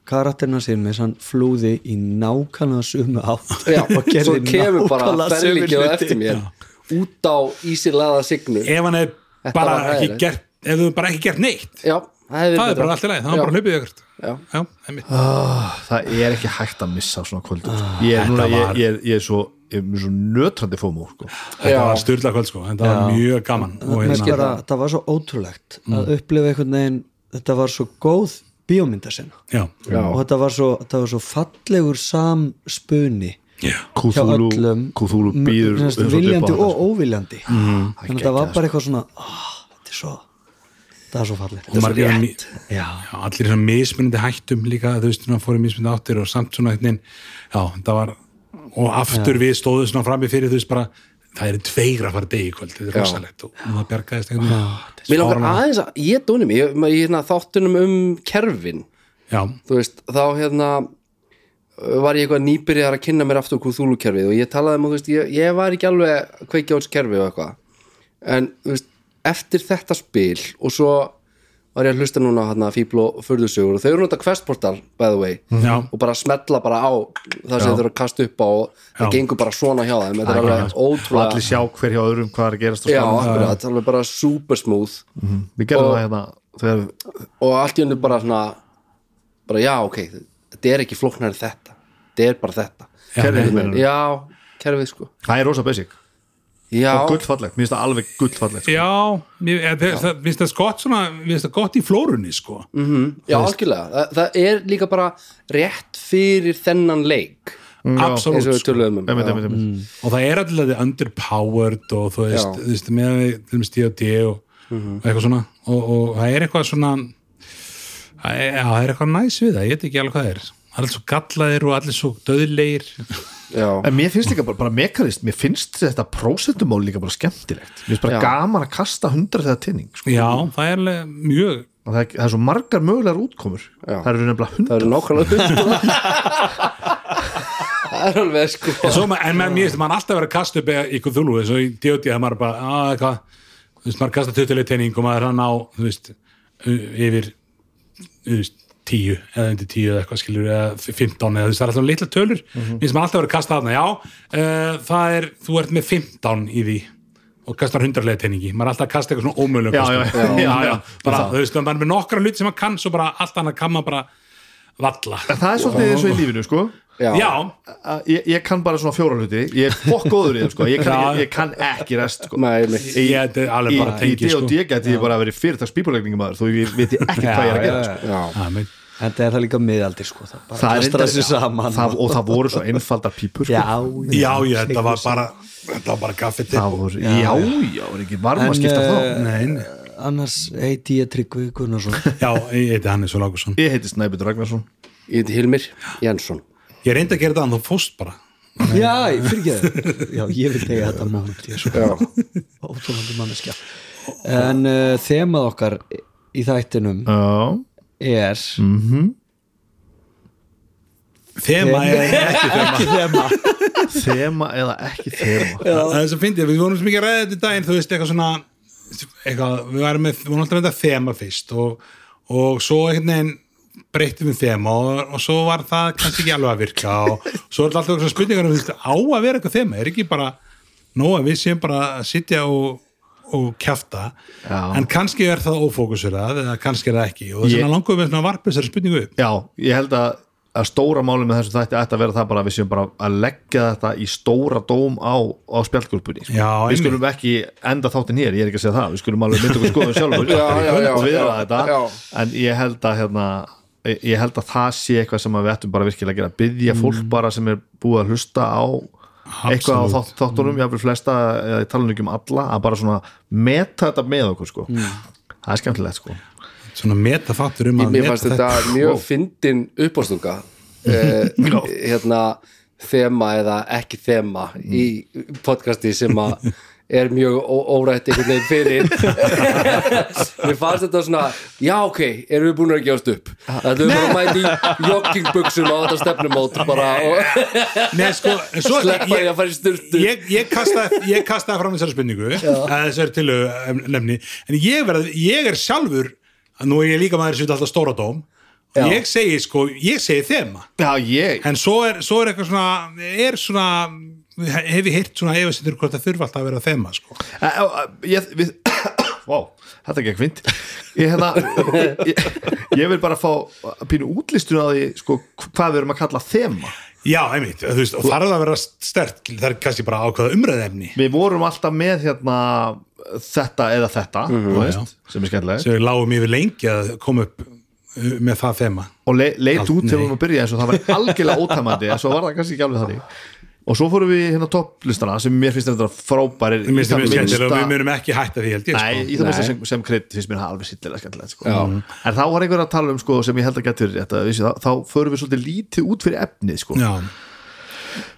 [SPEAKER 5] karakterna sér með hann flúði í nákvæmlega sumu átt
[SPEAKER 1] já,
[SPEAKER 5] og
[SPEAKER 1] svo
[SPEAKER 5] gerði
[SPEAKER 1] kemur bara
[SPEAKER 5] nákvæmlega sömu
[SPEAKER 1] ferlíkið á
[SPEAKER 5] hluti.
[SPEAKER 1] eftir mér út á ísilaða signu já,
[SPEAKER 3] Ef hann hefði
[SPEAKER 1] Þetta
[SPEAKER 3] bara
[SPEAKER 1] var
[SPEAKER 3] ekki
[SPEAKER 1] hræðilegt.
[SPEAKER 3] gert ef þú hefði bara ekki gert neitt
[SPEAKER 1] það hefði verið
[SPEAKER 3] það er bara
[SPEAKER 1] betra.
[SPEAKER 3] allt í lagi, það var
[SPEAKER 1] Já.
[SPEAKER 3] bara hlaupið ykkert
[SPEAKER 1] Já.
[SPEAKER 3] Já, Ah. einmitt.
[SPEAKER 4] Það er ekki hægt að missa á svona kvöldu
[SPEAKER 5] Ah,
[SPEAKER 4] ég, er núna, ég, ég, er- ég er svo, ég er með svo nötrandi fómo sko.
[SPEAKER 3] þetta var styrla kvöld sko þetta var mjög gaman og
[SPEAKER 5] Mér
[SPEAKER 3] hérna, Mm.
[SPEAKER 5] bara, það var svo ótrúlegt að upplifa einhvern veginn þetta var svo góð bíómyndasena
[SPEAKER 3] já,
[SPEAKER 5] og þetta var svo, þetta var svo fallegur samspunni
[SPEAKER 3] já.
[SPEAKER 5] hjá
[SPEAKER 4] Kúþúlu,
[SPEAKER 5] öllum
[SPEAKER 4] Kúþúlu
[SPEAKER 5] m-
[SPEAKER 4] býður
[SPEAKER 5] sem sagt,
[SPEAKER 4] upp á
[SPEAKER 5] viljandi
[SPEAKER 4] hana,
[SPEAKER 5] og
[SPEAKER 4] sko.
[SPEAKER 5] óviljandi þannig að
[SPEAKER 4] geggjað,
[SPEAKER 5] það var bara eitthvað svona "Ah, þetta er svo það er svo fallegt
[SPEAKER 3] og margir að mi-
[SPEAKER 5] Já.
[SPEAKER 3] Já, allir svona mismunandi hættum líka þú veist, svona fórum mismunandi áttir og samt svona einnig, já, það var og aftur við stóðum svona frammi fyrir þú veist bara, það eru tveir að fara degi í kvöld þetta er rosalegt og og það bjargaðist einhvern veginn
[SPEAKER 1] Mér langar aðeins að, ég dóni mig, ég, ég hérna, þáttunum um kerfin,
[SPEAKER 3] já,
[SPEAKER 1] þú veist, þá hérna uh, var ég eitthvað nýbyrjar að kynna mér aftur Cthulhu kerfið og ég talaði um, að, þú veist, ég, ég var ekki alveg að kveikja ás kerfið og eitthvað en, þú veist, eftir þetta spil og svo var ég að hlusta núna hérna fíbl og furðusögur og þau eru náttúrulega questportal, by the way
[SPEAKER 3] Já.
[SPEAKER 1] og bara smetla bara á það sem þau eru að kasta upp á og það
[SPEAKER 3] Já.
[SPEAKER 1] gengur bara svona hjá þeim, þetta er alveg
[SPEAKER 4] og allir
[SPEAKER 1] ótrúlega
[SPEAKER 4] sjá hver hjá öðrum hvað er að gerast á
[SPEAKER 1] Já,
[SPEAKER 4] skjánum.
[SPEAKER 1] akkurat, alveg bara super smooth
[SPEAKER 4] við gerum það hérna þegar,
[SPEAKER 1] og allt í hennu bara svona bara já ok, þetta er ekki flóknar þetta, þetta er bara þetta
[SPEAKER 3] já,
[SPEAKER 4] Kerfið,
[SPEAKER 3] nei,
[SPEAKER 4] meinarðu?
[SPEAKER 1] já, kerfið sko
[SPEAKER 4] það er rosa basic
[SPEAKER 1] já,
[SPEAKER 4] og gullfallegt, mér finnst það alveg gullfallegt sko.
[SPEAKER 3] já, mér eh, það- það- finnst það gott svona, finnst það gott í flórunni sko
[SPEAKER 1] Mm. já algjörlega það, það er líka bara rétt fyrir þennan leik eins
[SPEAKER 3] absolutt
[SPEAKER 1] og við
[SPEAKER 3] sko.
[SPEAKER 1] töluðum um
[SPEAKER 4] Einmitt,
[SPEAKER 1] já.
[SPEAKER 4] einmitt, einmitt.
[SPEAKER 3] og það er allir að þið underpowered og þú veist,
[SPEAKER 1] Já. Mhm.
[SPEAKER 3] þú veist með að við til dæmis D&D og, og eitthvað svona og, og það er eitthvað svona það er, já, það er eitthvað næs við það, ég veit ekki alveg hvað það er allir svo gallaðir og allir svo döðleir
[SPEAKER 1] Já.
[SPEAKER 4] en mér finnst líka bara, bara mekarist mér finnst þetta prósentumál líka bara skemmtilegt mér finnst bara
[SPEAKER 1] Já.
[SPEAKER 4] gaman að kasta hundra þegar tinning sko.
[SPEAKER 3] já, það er alveg mjög
[SPEAKER 4] og það, er- það er svo margar mögulegar útkomur
[SPEAKER 1] Já.
[SPEAKER 4] það eru nefnilega
[SPEAKER 1] það
[SPEAKER 4] hundar
[SPEAKER 1] eru nákvæmlega það er alveg sko
[SPEAKER 3] En, svo, ma- en með mér, mann alltaf verið að kasta upp eða ykkur þúlu, þess að í djóti að maður bara, að eitthvað, þú veist, maður kasta tuttulega teining og maður er hann á, þú veist, u- yfir, þú veist, tíu eða undir tíu eða eitthvað skilur eða f- 15 eða þú veist, það er alltaf litla tölur mm
[SPEAKER 4] Mhm.
[SPEAKER 3] -hmm. minnst maður alltaf verið að kasta þarna, já uh, það er, þú ert með 15 í því og kastar hundarlega teiningi maður er alltaf að kasta eitthvað svona ómöðlega
[SPEAKER 4] Já, já, já.
[SPEAKER 3] já, já, bara, þú veist, maður er með nokkra hluti sem maður kann svo bara allt annað kann maður bara valla
[SPEAKER 4] En það er svolítið eins og í lífinu sko
[SPEAKER 1] já,
[SPEAKER 3] já,
[SPEAKER 4] Að ég, ég kann bara svona fjóra hluti ég er fokk góður í það sko ég kann,
[SPEAKER 3] Já.
[SPEAKER 4] ekki, ég kann ekki rest sko
[SPEAKER 1] Nei, mitt.
[SPEAKER 3] ég, þetta er
[SPEAKER 4] í,
[SPEAKER 3] alveg bara
[SPEAKER 4] í
[SPEAKER 3] tengi sko.
[SPEAKER 4] D&D gæti ég bara að vera fyrirtags bíbólegningum aður þó ég veit ég ekkert hvað ég er að gera sko.
[SPEAKER 1] já.
[SPEAKER 3] Amen.
[SPEAKER 5] Þetta er það líka miðaldir sko Það, bara kastar
[SPEAKER 4] reyndar-
[SPEAKER 5] þessu saman
[SPEAKER 4] það,
[SPEAKER 5] og,
[SPEAKER 4] og það voru svo einfaldar pípur sko.
[SPEAKER 5] já,
[SPEAKER 3] Já, já, þetta var bara þetta var bara kaffið til
[SPEAKER 4] það voru, já, já, já, er ekki varma
[SPEAKER 5] En,
[SPEAKER 4] að skipta
[SPEAKER 5] eh,
[SPEAKER 4] þá
[SPEAKER 3] Nein.
[SPEAKER 5] Annars heiti ég Tryggvi Gunnarsson
[SPEAKER 3] Já, ég heiti Hannes og Lákusson
[SPEAKER 4] ég heiti Snæbjörn Ragnarsson
[SPEAKER 1] ég heiti Hilmir Jansson
[SPEAKER 3] Ég reyndi að gera þetta en þú fóst bara
[SPEAKER 5] Já, fyrir ekki Já, ég vil tegja þetta moment Ég er svo
[SPEAKER 1] já,
[SPEAKER 5] óþólandi manneskja En uh, þemað okkar í þættinum
[SPEAKER 4] já,
[SPEAKER 5] er
[SPEAKER 3] Þema er ekki þema
[SPEAKER 5] Þema
[SPEAKER 4] þema eða ekki þema
[SPEAKER 3] Það er svo fyndið, við vorum svo mikið að ræða þetta um daginn þú veist, eitthvað svona eitthvað, við varum með, við vorum alltaf að reynda þema fyrst og, og svo einhvern veginn breyttum við þema og, og svo var það kannski ekki alveg að virka og svo er þetta alltaf eitthvað spurningar um, þú veist, á að vera eitthvað þema, er ekki bara nóg að við séum bara að sitja og og kjafta,
[SPEAKER 4] Já.
[SPEAKER 3] en kannski er það ófókusurað eða kannski er það ekki og þess
[SPEAKER 4] Ég-
[SPEAKER 3] vegna langum við svona að varpa þessari spurningu upp
[SPEAKER 4] já, ég held að, að stóra máli með þessu þætti ætti að vera það bara að við séum bara að leggja þetta í stóra dóm á, á spjaldgrúpunni sko.
[SPEAKER 3] Já,
[SPEAKER 4] við
[SPEAKER 3] einmitt.
[SPEAKER 4] skulum ekki enda þáttin hér, ég er ekki að segja það við skulum alveg mynda okkur skoðum sjálfur
[SPEAKER 1] Já, já, já,
[SPEAKER 4] og viðra
[SPEAKER 1] já,
[SPEAKER 4] þetta
[SPEAKER 1] já.
[SPEAKER 4] en ég held að hérna ég ég held að það sé eitthvað sem að við ættum bara virkilega að gera byggja
[SPEAKER 3] Mm.
[SPEAKER 4] fólk bara sem er búið að hlusta á eitthvað á
[SPEAKER 3] Absolutt.
[SPEAKER 4] þátt, þáttunum, mm. jáfnvel flesta eða ég tala nú ekki um alla, að bara svona meta þetta með okkur sko
[SPEAKER 3] Mm.
[SPEAKER 4] það er skemmtilegt sko
[SPEAKER 3] svona metafaktur um að
[SPEAKER 1] mér
[SPEAKER 3] meta
[SPEAKER 1] fannst þetta mjög fyndin uppástunga eh, hérna þema eða ekki þema í podcasti sem að er mjög ó- órætt einhvern veginn fyrir mér fannst þetta svona já ok, erum við búin að gefast upp þetta er bara að mæta í joggingbuxum á þetta stefnumót bara og
[SPEAKER 3] Nei, sko, en svo,
[SPEAKER 1] sleppa því að fara í sturtu
[SPEAKER 3] ég, ég, kastaði, ég kastaði fram þessari spurningu að þessari til nefni en ég, verð, ég er sjálfur nú er ég líka maður sem vil alltaf stóra dóm
[SPEAKER 1] Já.
[SPEAKER 3] ég segi sko, ég segi þema
[SPEAKER 4] Já, ég
[SPEAKER 3] en svo er, svo er eitthvað svona er svona, hef ég heyrt svona efasindur hvort það þurfa alltaf að vera þema sko.
[SPEAKER 4] Æ, á, á, ég við, Vá, þetta gekk vind ég, hérna, ég, ég vil bara fá pínu útlistun á því sko, hvað við erum að kalla þema
[SPEAKER 3] já, einmitt, þú veist, og þarf það að vera stert það er kannski bara ákvaða umræðefni
[SPEAKER 4] Við vorum alltaf með hérna þetta eða þetta þú veist, sem er skemmtileg
[SPEAKER 3] Mhm, sem við lágum yfir lengi að koma upp uh, með það þema
[SPEAKER 4] og le, leit
[SPEAKER 3] Allt
[SPEAKER 4] út til
[SPEAKER 3] nei.
[SPEAKER 4] hún að byrja eins og það var algjörlega ótæmandi en svo var það kannski ekki alveg þannig og svo fórum við í hérna topplistana sem mér finnst þetta frábærir
[SPEAKER 3] Mér finnst
[SPEAKER 4] í
[SPEAKER 3] það mjög
[SPEAKER 4] það
[SPEAKER 3] skemmtilega og
[SPEAKER 4] minnsta-
[SPEAKER 3] við munum ekki hætta því held ég sko.
[SPEAKER 4] Nei, í það minnst sem, sem kredd finnst mér það alveg sýttilega skemmtilegt sko. En þá var einhver að tala um sko, sem ég held að getur rétt að vissi, þá, þá förum við svolítið lítið út fyrir efnið sko.
[SPEAKER 3] Já,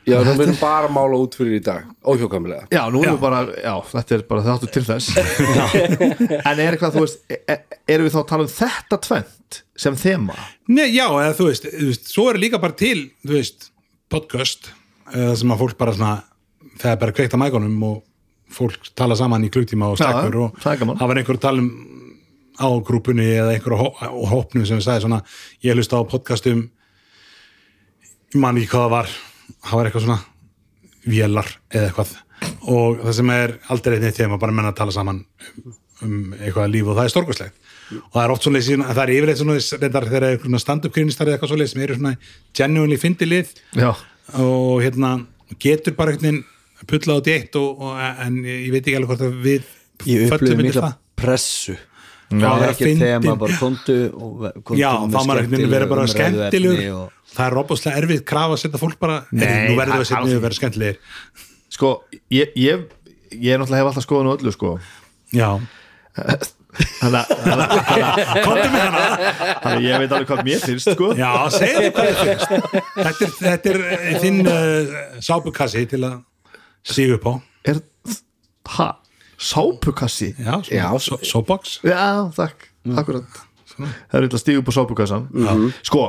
[SPEAKER 1] já, nú erum bara að mála út fyrir í dag óhjókamlega
[SPEAKER 4] Já, nú erum
[SPEAKER 3] Já.
[SPEAKER 4] við bara, já, þetta er bara þáttu til þess En er eitthvað, þú veist, e- e- erum við þá að tala um þetta tvent sem þema?
[SPEAKER 3] Nei, já, eða þú veist, þú veist svo er líka bara til, þú veist, podcast eða sem að fólk bara svona það er bara kveikt á mækonum og fólk tala saman í klugtíma og stakkur
[SPEAKER 4] Já,
[SPEAKER 3] og
[SPEAKER 4] það er gaman.
[SPEAKER 3] það var einhver að tala um á grúpunni eða einhver hó og hópnum sem sagði svona, ég hlusta á podcastum ég man ekki hvað það var það var eitthvað svona vélar eða eitthvað og það sem er aldrei neitt þegar maður bara menna að tala saman um eitthvað líf og það er stórkoslegt og það er oft svona leysi, það er yfirleitt svona reyndar þegar er eitthvað stand-up krinistar eða eitthvað svo sem eru svona genuinely fyndi lið
[SPEAKER 4] Já,
[SPEAKER 3] og hérna getur bara einhvern veginn pullað út í eitt og, og, en ég veit ekki alveg hvort að við
[SPEAKER 5] Ég upplifði
[SPEAKER 3] föllum undir
[SPEAKER 5] mikla
[SPEAKER 3] það.
[SPEAKER 5] pressu
[SPEAKER 3] Já,
[SPEAKER 5] Það
[SPEAKER 3] vera
[SPEAKER 5] er ekki
[SPEAKER 3] fyndin.
[SPEAKER 5] þema, bara komdu og ve- komdu
[SPEAKER 3] Já,
[SPEAKER 5] með
[SPEAKER 3] þá maður einhvern veginn verið bara
[SPEAKER 5] skemmtileg
[SPEAKER 3] skemmtilegur
[SPEAKER 5] umræðuefni og-
[SPEAKER 3] það er robustlega erfið krafa að setja fólk bara Nei, nú verður við að setja
[SPEAKER 4] alls
[SPEAKER 3] niður að vera skemmtilegir
[SPEAKER 4] sko, ég, ég, ég náttúrulega hef alltaf skoðun á öllu, sko
[SPEAKER 3] Já,
[SPEAKER 4] Þannig að- þannig að
[SPEAKER 3] komdu með hana
[SPEAKER 4] þannig að ég veit alveg hvað mér finnst, sko
[SPEAKER 3] Já, segðu hvað þið finnst Þetta er, þetta er eh, þinn uh, sápukassi til að síga upp á
[SPEAKER 4] Er, ha, sápukassi?
[SPEAKER 3] Já, sko.
[SPEAKER 1] Já.
[SPEAKER 3] svo, svo box
[SPEAKER 4] Já, takk, akkurat Mm. það er eitthvað að stíða upp á sápukassan sko,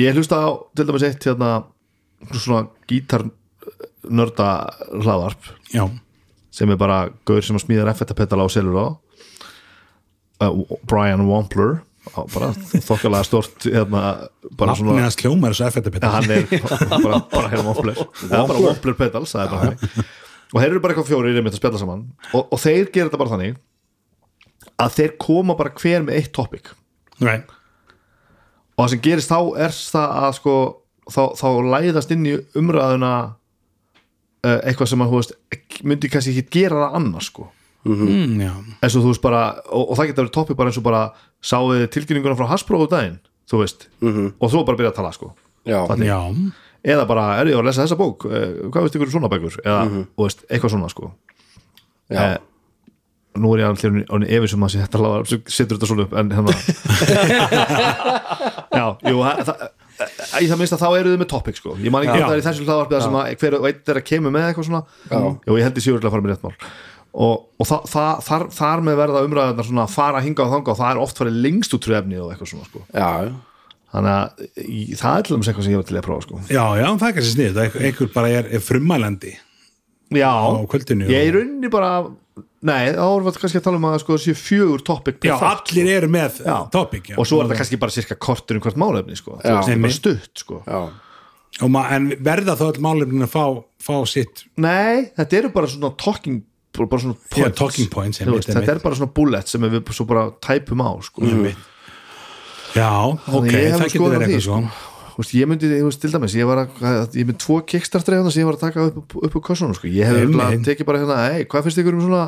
[SPEAKER 4] ég hlusta á til dæmis eitt hérna svona gítarnörda hlaðvarp
[SPEAKER 3] já,
[SPEAKER 4] sem er bara gaur sem að smíðar effektapetala og selur á uh, Brian Wampler á bara þokkalega stort hérna, bara
[SPEAKER 3] nafnið
[SPEAKER 4] svona
[SPEAKER 3] hans hljómar þessu effektapetta
[SPEAKER 4] Ja, hann er bara, bara hérna Wampler það er bara Wampler pedals það er bara þannig og þeir eru bara eitthvað fjórir einmitt að spjalla saman og, og þeir gera þetta bara þannig að þeir koma bara hver með eitt topic
[SPEAKER 3] right.
[SPEAKER 4] og það sem gerist þá er það að sko þá, þá læðast inn í umræðuna uh, eitthvað sem að þú veist ekki- myndi kannski ekki gera það annars sko
[SPEAKER 3] mm, já,
[SPEAKER 4] eins og þú veist bara, og, og það getur að vera toppi bara eins og bara sáðið tilkynninguna frá Hasbro á daginn, þú veist, -hmm. og þú bara byrja að tala sko,
[SPEAKER 1] já,
[SPEAKER 3] já,
[SPEAKER 4] eða bara er ég var að lesa þessa bók, eh, hvað veist ykkur um svona bækur eða, mm -hmm. veist, eitthvað svona sko
[SPEAKER 1] já.
[SPEAKER 4] Eh, nú er ég alveg hljóðin án efins um að sé þetta lágar, setur þetta svona upp en hérna já, jú, það það- í það minnst að þá eru þið með topic sko ég man
[SPEAKER 3] Já.
[SPEAKER 4] ekki að það er í þessu hlaðvarpið þar sem að hver og einn er að kemur með eitthvað svona já, ég held ég séu örugglega að fara með rétt mál og, og þa, þa, þar, þar með verða umræðarnar svona að fara hingað og þangað og það er oft farið lengst út trefnið og eitthvað svona sko
[SPEAKER 1] já.
[SPEAKER 4] þannig að í, það er til dæmis eitthvað sem ég var til að prófa sko
[SPEAKER 3] já, já, það er kannski snið einhver bara er, er frummælandi
[SPEAKER 4] já,
[SPEAKER 3] á kvöldinu
[SPEAKER 4] ég er rauninni bara nei, þá erum við kannski að tala um að sko séu fjögur topic per
[SPEAKER 3] já,
[SPEAKER 4] þátt, sko.
[SPEAKER 3] allir eru með
[SPEAKER 4] já.
[SPEAKER 3] topic já.
[SPEAKER 4] og svo er þetta kannski bara cirka kortur um hvert málefni sko. Þú veist, þetta er bara
[SPEAKER 3] Einmitt.
[SPEAKER 4] stutt sko.
[SPEAKER 1] já.
[SPEAKER 3] Og ma- en verða þá all málefnin að fá, fá sitt
[SPEAKER 4] nei, þetta eru bara svona talking bara svona points,
[SPEAKER 3] talking points,
[SPEAKER 4] Þú
[SPEAKER 3] einmitt,
[SPEAKER 4] veist, þetta
[SPEAKER 3] einmitt.
[SPEAKER 4] er bara svona bullets sem við svo bara tæpum á sko. mm.
[SPEAKER 3] já, ok,
[SPEAKER 4] ég hef
[SPEAKER 3] það getur
[SPEAKER 4] skoðun á
[SPEAKER 3] verið eitthvað
[SPEAKER 4] því,
[SPEAKER 3] svo
[SPEAKER 4] veist, ég myndi, þú veist, til dæmis ég var að, ég myndi tvo kickstarter hérna sem ég var að taka upp, upp úr kossunum sko. ég hef
[SPEAKER 3] Einmitt.
[SPEAKER 4] örugglega tekið bara hérna, ei, hvað finnst ykkur um svona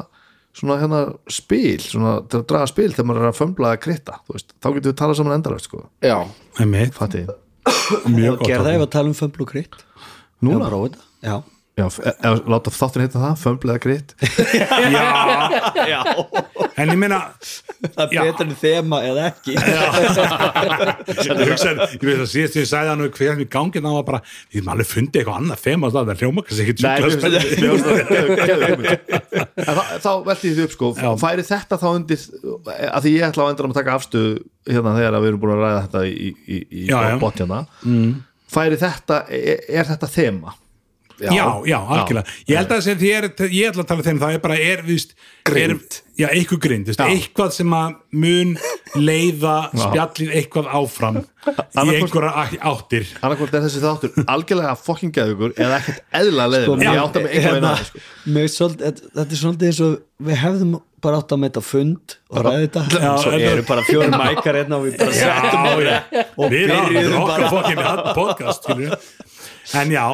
[SPEAKER 4] svona hérna spil svona til að draga spil þegar maður er að fömbla að krita veist, þá getum við talað saman endarlegt sko.
[SPEAKER 1] já.
[SPEAKER 3] Einmitt,
[SPEAKER 4] Fattiði?
[SPEAKER 3] mjög gott
[SPEAKER 5] Gerða það
[SPEAKER 3] topic.
[SPEAKER 5] ef að tala um fömbl og krytt
[SPEAKER 4] Núna?
[SPEAKER 5] Já, prófa þetta. Já.
[SPEAKER 4] Já, f- e- e- láta þáttur heita það, fömbla eða krita
[SPEAKER 3] en ég meina
[SPEAKER 5] Það
[SPEAKER 3] Já.
[SPEAKER 5] er betur en þema eða ekki
[SPEAKER 3] ég hugsa, ég veist að síðast sem ég sagði hann og hvernig við gangið það var bara, ég maður alveg fundið eitthvað annað fema það er hljóma kannski ekki
[SPEAKER 4] Nei,
[SPEAKER 3] sjúklega
[SPEAKER 4] mér
[SPEAKER 3] spennandi.
[SPEAKER 4] finnst- mér finnst það geðu- geðu hugmynd. En þá- þá velti ég því upp sko
[SPEAKER 3] Já.
[SPEAKER 4] færi þetta þá undir að því ég ætla á endanum að taka afstöðu hérna þegar að við erum búin að ræða þetta í, í, í
[SPEAKER 3] Já, Mm. já.
[SPEAKER 4] bot hérna færi þetta, er, er þetta þema
[SPEAKER 3] já, já, algjörlega ég held að sem því er, ég ætla að tala þeim það er bara er, viðst, grind er, já, eitthvað grind, viðst,
[SPEAKER 4] Já.
[SPEAKER 3] eitthvað sem að mun leiða spjallin eitthvað áfram í
[SPEAKER 4] Annarkost-
[SPEAKER 3] einhverja á- áttir
[SPEAKER 4] annarkvort er þessi þáttur algjörlega fucking geðugur eða ekkert eðla
[SPEAKER 3] Sko,
[SPEAKER 4] leiðin ég átta mig einhvern veginn
[SPEAKER 5] Sko, Hérna,
[SPEAKER 4] að því, sko.
[SPEAKER 5] mér finnst svolítið- þetta- Þetta er svolítið eins og við hefðum bara átt að mæta fund og ræði þetta
[SPEAKER 3] Já,
[SPEAKER 5] Svo
[SPEAKER 3] þetta-
[SPEAKER 5] eru bara fjóri mækar hérna og við bara
[SPEAKER 3] já, já,
[SPEAKER 5] og
[SPEAKER 3] við erum
[SPEAKER 5] byrjuðum
[SPEAKER 3] okkar
[SPEAKER 5] bara.
[SPEAKER 3] fokkin podcast skilur við. en já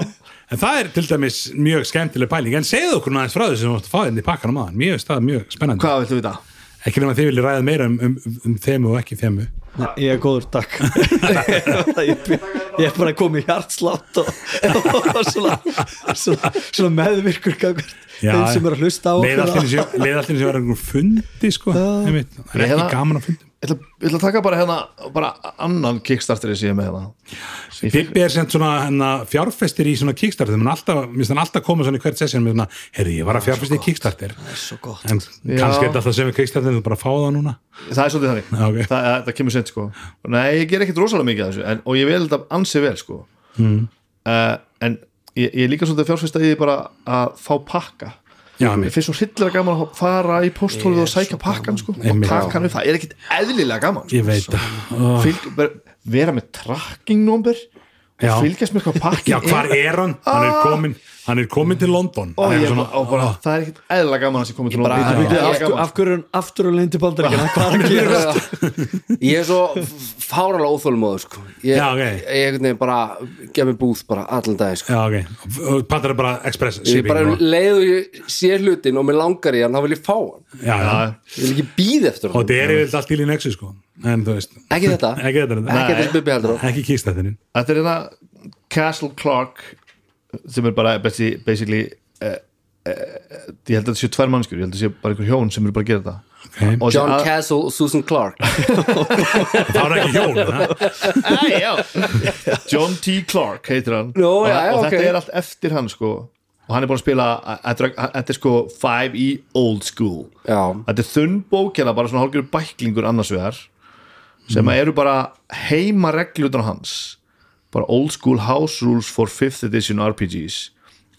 [SPEAKER 3] En það er til dæmis mjög skemmtileg pæling en segðu okkur nú aðeins frá þessu sem þú varst að fá þenni í pakkanum aðan, mér finnst það mjög spennandi
[SPEAKER 4] hvað viltu vita?
[SPEAKER 3] ekki nema þið viljið ræða meira um, um, um þemu og ekki þemu
[SPEAKER 5] Nei, Ég er góður, takk Ég ég er bara komið í hjartslátt og, og svona, svona, svona meðvirkur gangvart þeim sem er að hlusta á
[SPEAKER 3] leið
[SPEAKER 5] okkur
[SPEAKER 3] allir sem verður einhver fundi sko, einmitt, það er ekki
[SPEAKER 4] Eða-
[SPEAKER 3] gaman að fundi
[SPEAKER 4] Ég ætla, ég ætla að taka bara hérna bara annan kickstarteri sem ég er með hérna Sem ég
[SPEAKER 3] Bibbi er sem svona hana, fjárfestir í svona kickstarter menn alltaf, minnst hann alltaf koma svona í hvert session með svona, herri, ég var að fjárfestir í kickstarter
[SPEAKER 5] Það er svo gott
[SPEAKER 3] en kannski er þetta alltaf sem við kickstarter en þú bara fá það núna
[SPEAKER 4] það er svolítið þannig
[SPEAKER 3] Já, ok.
[SPEAKER 4] það, það kemur sent sko Nei, ég ger ekkert rosalega mikið af þessu en, og ég vel þetta ansi vel sko mm. en ég, ég er líka svolítið fjárfæst að ég bara að fá pakka
[SPEAKER 3] Já,
[SPEAKER 4] Mér
[SPEAKER 3] einmitt.
[SPEAKER 4] finnst svo hryllilega gaman að fara í posthólfið og sækja pakkan sko, og
[SPEAKER 3] Einmitt.
[SPEAKER 4] taka hann upp það er ekkert eðlilega gaman sko.
[SPEAKER 3] ég veit það Ó,
[SPEAKER 4] Fylg, ver- vera með tracking number og
[SPEAKER 3] Já.
[SPEAKER 4] fylgjast með hvað pakkin
[SPEAKER 3] Já, hvar er hann? Hann er komin, hann er komin til London
[SPEAKER 4] og
[SPEAKER 3] Hann
[SPEAKER 4] ég,
[SPEAKER 3] er
[SPEAKER 4] svona,
[SPEAKER 3] svona,
[SPEAKER 4] og bara, það er ekkert eðlilega gaman að sé komið til
[SPEAKER 1] bara-
[SPEAKER 4] London. Bíddu, bíddu,
[SPEAKER 5] af,
[SPEAKER 4] eðlilega gaman.
[SPEAKER 5] af hverju er hann aftur og leindi bandaríkina hvað er að gera
[SPEAKER 1] ég er svo f- fáralega óþólmóður sko. ég,
[SPEAKER 3] Já, ok.
[SPEAKER 1] ég einhvern veginn bara gef mér búð bara allan dag sko.
[SPEAKER 3] Já, ok, Og Pantar er bara express
[SPEAKER 1] ég
[SPEAKER 3] shipping
[SPEAKER 1] bara
[SPEAKER 3] og-
[SPEAKER 1] leiðu ég sé hlutin og mér langar í hann þá vil ég fá hann
[SPEAKER 3] Já, já,
[SPEAKER 1] ég vil ekki býð eftir
[SPEAKER 3] og
[SPEAKER 1] hann
[SPEAKER 3] þetta er yfirleitt allt til í nexu sko En þú veist,
[SPEAKER 1] ekki þetta
[SPEAKER 3] ekki þetta er
[SPEAKER 1] ekki þetta bubbi heldur á.
[SPEAKER 3] Ekki kickstarterinn
[SPEAKER 4] Þetta er hérna Castle Clark sem er bara basi- basically uh, uh, ég held að þetta séu tvær mannskjur ég held að þetta séu bara einhver hjón sem eru bara að gera þetta
[SPEAKER 3] okay.
[SPEAKER 4] og Ah.
[SPEAKER 1] John Castle og Susan Clark
[SPEAKER 3] Það var ekki hjón, ha?
[SPEAKER 4] Cass John T. Clark heitir hann
[SPEAKER 1] Nú,
[SPEAKER 4] og,
[SPEAKER 1] já, já,
[SPEAKER 4] og
[SPEAKER 1] ok.
[SPEAKER 4] þetta er allt eftir hann sko og hann er búin að spila þetta er- þetta er sko 5 e old school
[SPEAKER 1] já,
[SPEAKER 4] þetta er þunn bók hérna bara svona hálfgjörur bæklingur annars vegar sem að eru bara heima reglunar hans bara old school house rules for 5th edition RPGs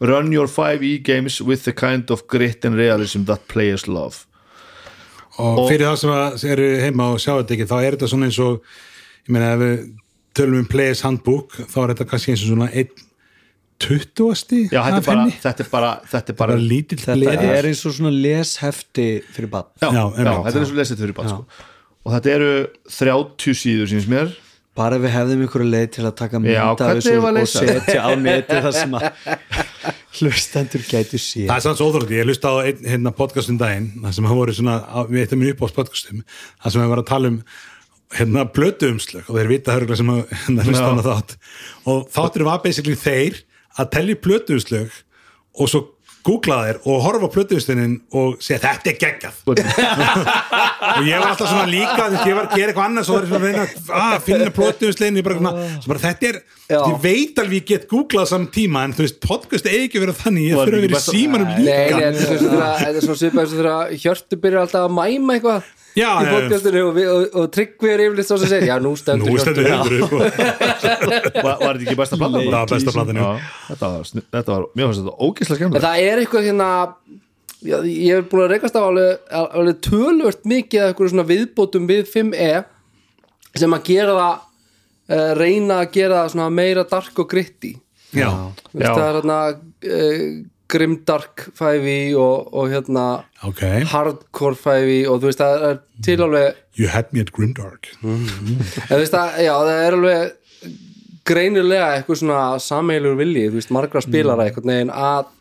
[SPEAKER 4] run your 5e games with the kind of grit and realism that players love
[SPEAKER 3] og fyrir það sem að eru heima og sjá þetta ekki þá er þetta svona eins og ég meina ef við tölum um Players Handbook þá er þetta kannski eins og svona einn 20.
[SPEAKER 4] já, þetta er
[SPEAKER 3] af
[SPEAKER 4] bara,
[SPEAKER 3] henni
[SPEAKER 4] þetta er bara, þetta er bara
[SPEAKER 3] bara lítill
[SPEAKER 5] Þetta
[SPEAKER 3] gleði
[SPEAKER 5] er eins og svona leshefti fyrir bann
[SPEAKER 3] Já,
[SPEAKER 4] já, já,
[SPEAKER 3] einmitt.
[SPEAKER 4] þetta er eins og lesið fyrir bara sko. og þetta eru 30 síður síns mér
[SPEAKER 5] Bara við hefðum einhverju leið til að taka
[SPEAKER 4] Já,
[SPEAKER 5] mynda
[SPEAKER 4] hvernig
[SPEAKER 5] þessu
[SPEAKER 4] eigum við að
[SPEAKER 5] og
[SPEAKER 4] leysa þetta?
[SPEAKER 5] setja á neti það sem að hlustendur gætu séð
[SPEAKER 3] Það er sanns óþróldi, ég hlusta á einn hérna podcastum daginn, það sem hafa voru svona á- við eittum upp á podcastum, það sem hafa verið að tala um hérna blötu umslög og þeir vita hörgulega sem hafa hérna, hlusta hana þátt og þáttur var basically þeir að telja blötu umslög og svo googla þeir og horfa á blötu umslögnin og segja þetta er geggjað og ég var alltaf svona líka þú veist, ég var að gera eitthvað annars og var ég svona að reyna að að finna plótuðuslegin ég bara, svona, svo bara þetta er, ég veit alveg ég get googlað saman tíma en þú veist, podcast eigi ekki verið þannig ég
[SPEAKER 4] Var
[SPEAKER 3] þurfa að
[SPEAKER 4] ekki
[SPEAKER 3] vera í
[SPEAKER 4] best að-
[SPEAKER 3] símanum
[SPEAKER 1] Nei, nei,
[SPEAKER 3] líka
[SPEAKER 1] þetta er svo- þetta er svona svipað eins og þegar Hjörtu byrjar alltaf að mæma eitthvað
[SPEAKER 3] Já,
[SPEAKER 1] í
[SPEAKER 3] já, já.
[SPEAKER 1] podcastinu og, við- og, og Tryggvi er yfirleitt svo sem segir, já, nú stendur
[SPEAKER 3] nú stendur
[SPEAKER 1] Hjörtu
[SPEAKER 3] hefur upp
[SPEAKER 4] var, var þetta ekki besta platan?
[SPEAKER 3] Það var besta platan, já.
[SPEAKER 4] já þetta var, snu- þetta var, mér finnst þetta ógeðslega
[SPEAKER 1] En
[SPEAKER 4] skemmtilegt
[SPEAKER 1] það er eitthvað hérna já, ég hef búin að reikast á alveg, alveg tölvört mikið af eitthvað svona viðbótum við 5E sem að gera það uh, reyna að gera það svona meira dark og gritti
[SPEAKER 3] og já,
[SPEAKER 1] Þú veist,
[SPEAKER 4] Já.
[SPEAKER 1] það er hérna uh, grimdark 5E og, og hérna
[SPEAKER 3] ok
[SPEAKER 1] hardcore 5E og þú veist það er til alveg
[SPEAKER 3] you had me at Grimdark
[SPEAKER 1] en þú veist það, já það er alveg greinilega eitthvað svona sammeilur vilji, þú veist margra spilara einhvern veginn að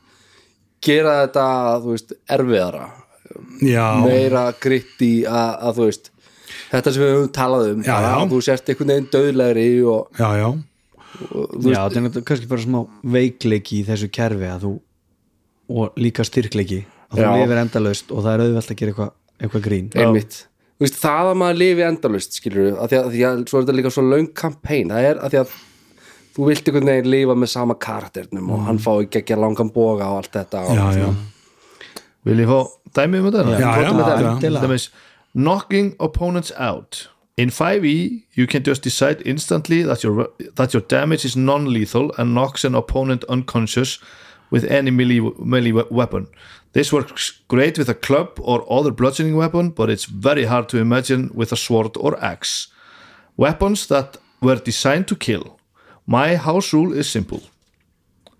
[SPEAKER 1] gera þetta þú veist erfiðara
[SPEAKER 3] já,
[SPEAKER 1] meira gritti að, að þú veist þetta sem við höfum talað um
[SPEAKER 3] Já,
[SPEAKER 1] bara
[SPEAKER 3] já.
[SPEAKER 1] að þú sért einhvern veginn döðlegri og
[SPEAKER 3] já, já
[SPEAKER 5] Já, það er náttúrulega kannski bara smá veikleiki í þessu kerfi að þú og líka styrkleiki að þú
[SPEAKER 1] Já.
[SPEAKER 5] lifir endalaust og það er auðvelt að gera eitthvað eitthvað grín
[SPEAKER 1] einmitt þú veist, það að maður lifi endalust skilur við, að því að, því að svo er þetta líka svo löng kampæn, það er að því að þú vilt einhvern veginn lifa með sama karakternum og hann fái geggja langan boga og allt þetta og
[SPEAKER 3] Mm. já, já,
[SPEAKER 4] vil ég fá dæmið um þetta?
[SPEAKER 3] já, já, já.
[SPEAKER 4] Til dæmis, knocking opponents out in 5e you can just decide instantly that your, that your damage is non-lethal and knocks an opponent unconscious with any melee, melee we- weapon this works great with a club or other bludgeoning weapon but it's very hard to imagine with a sword or axe weapons that were designed to kill my house rule is simple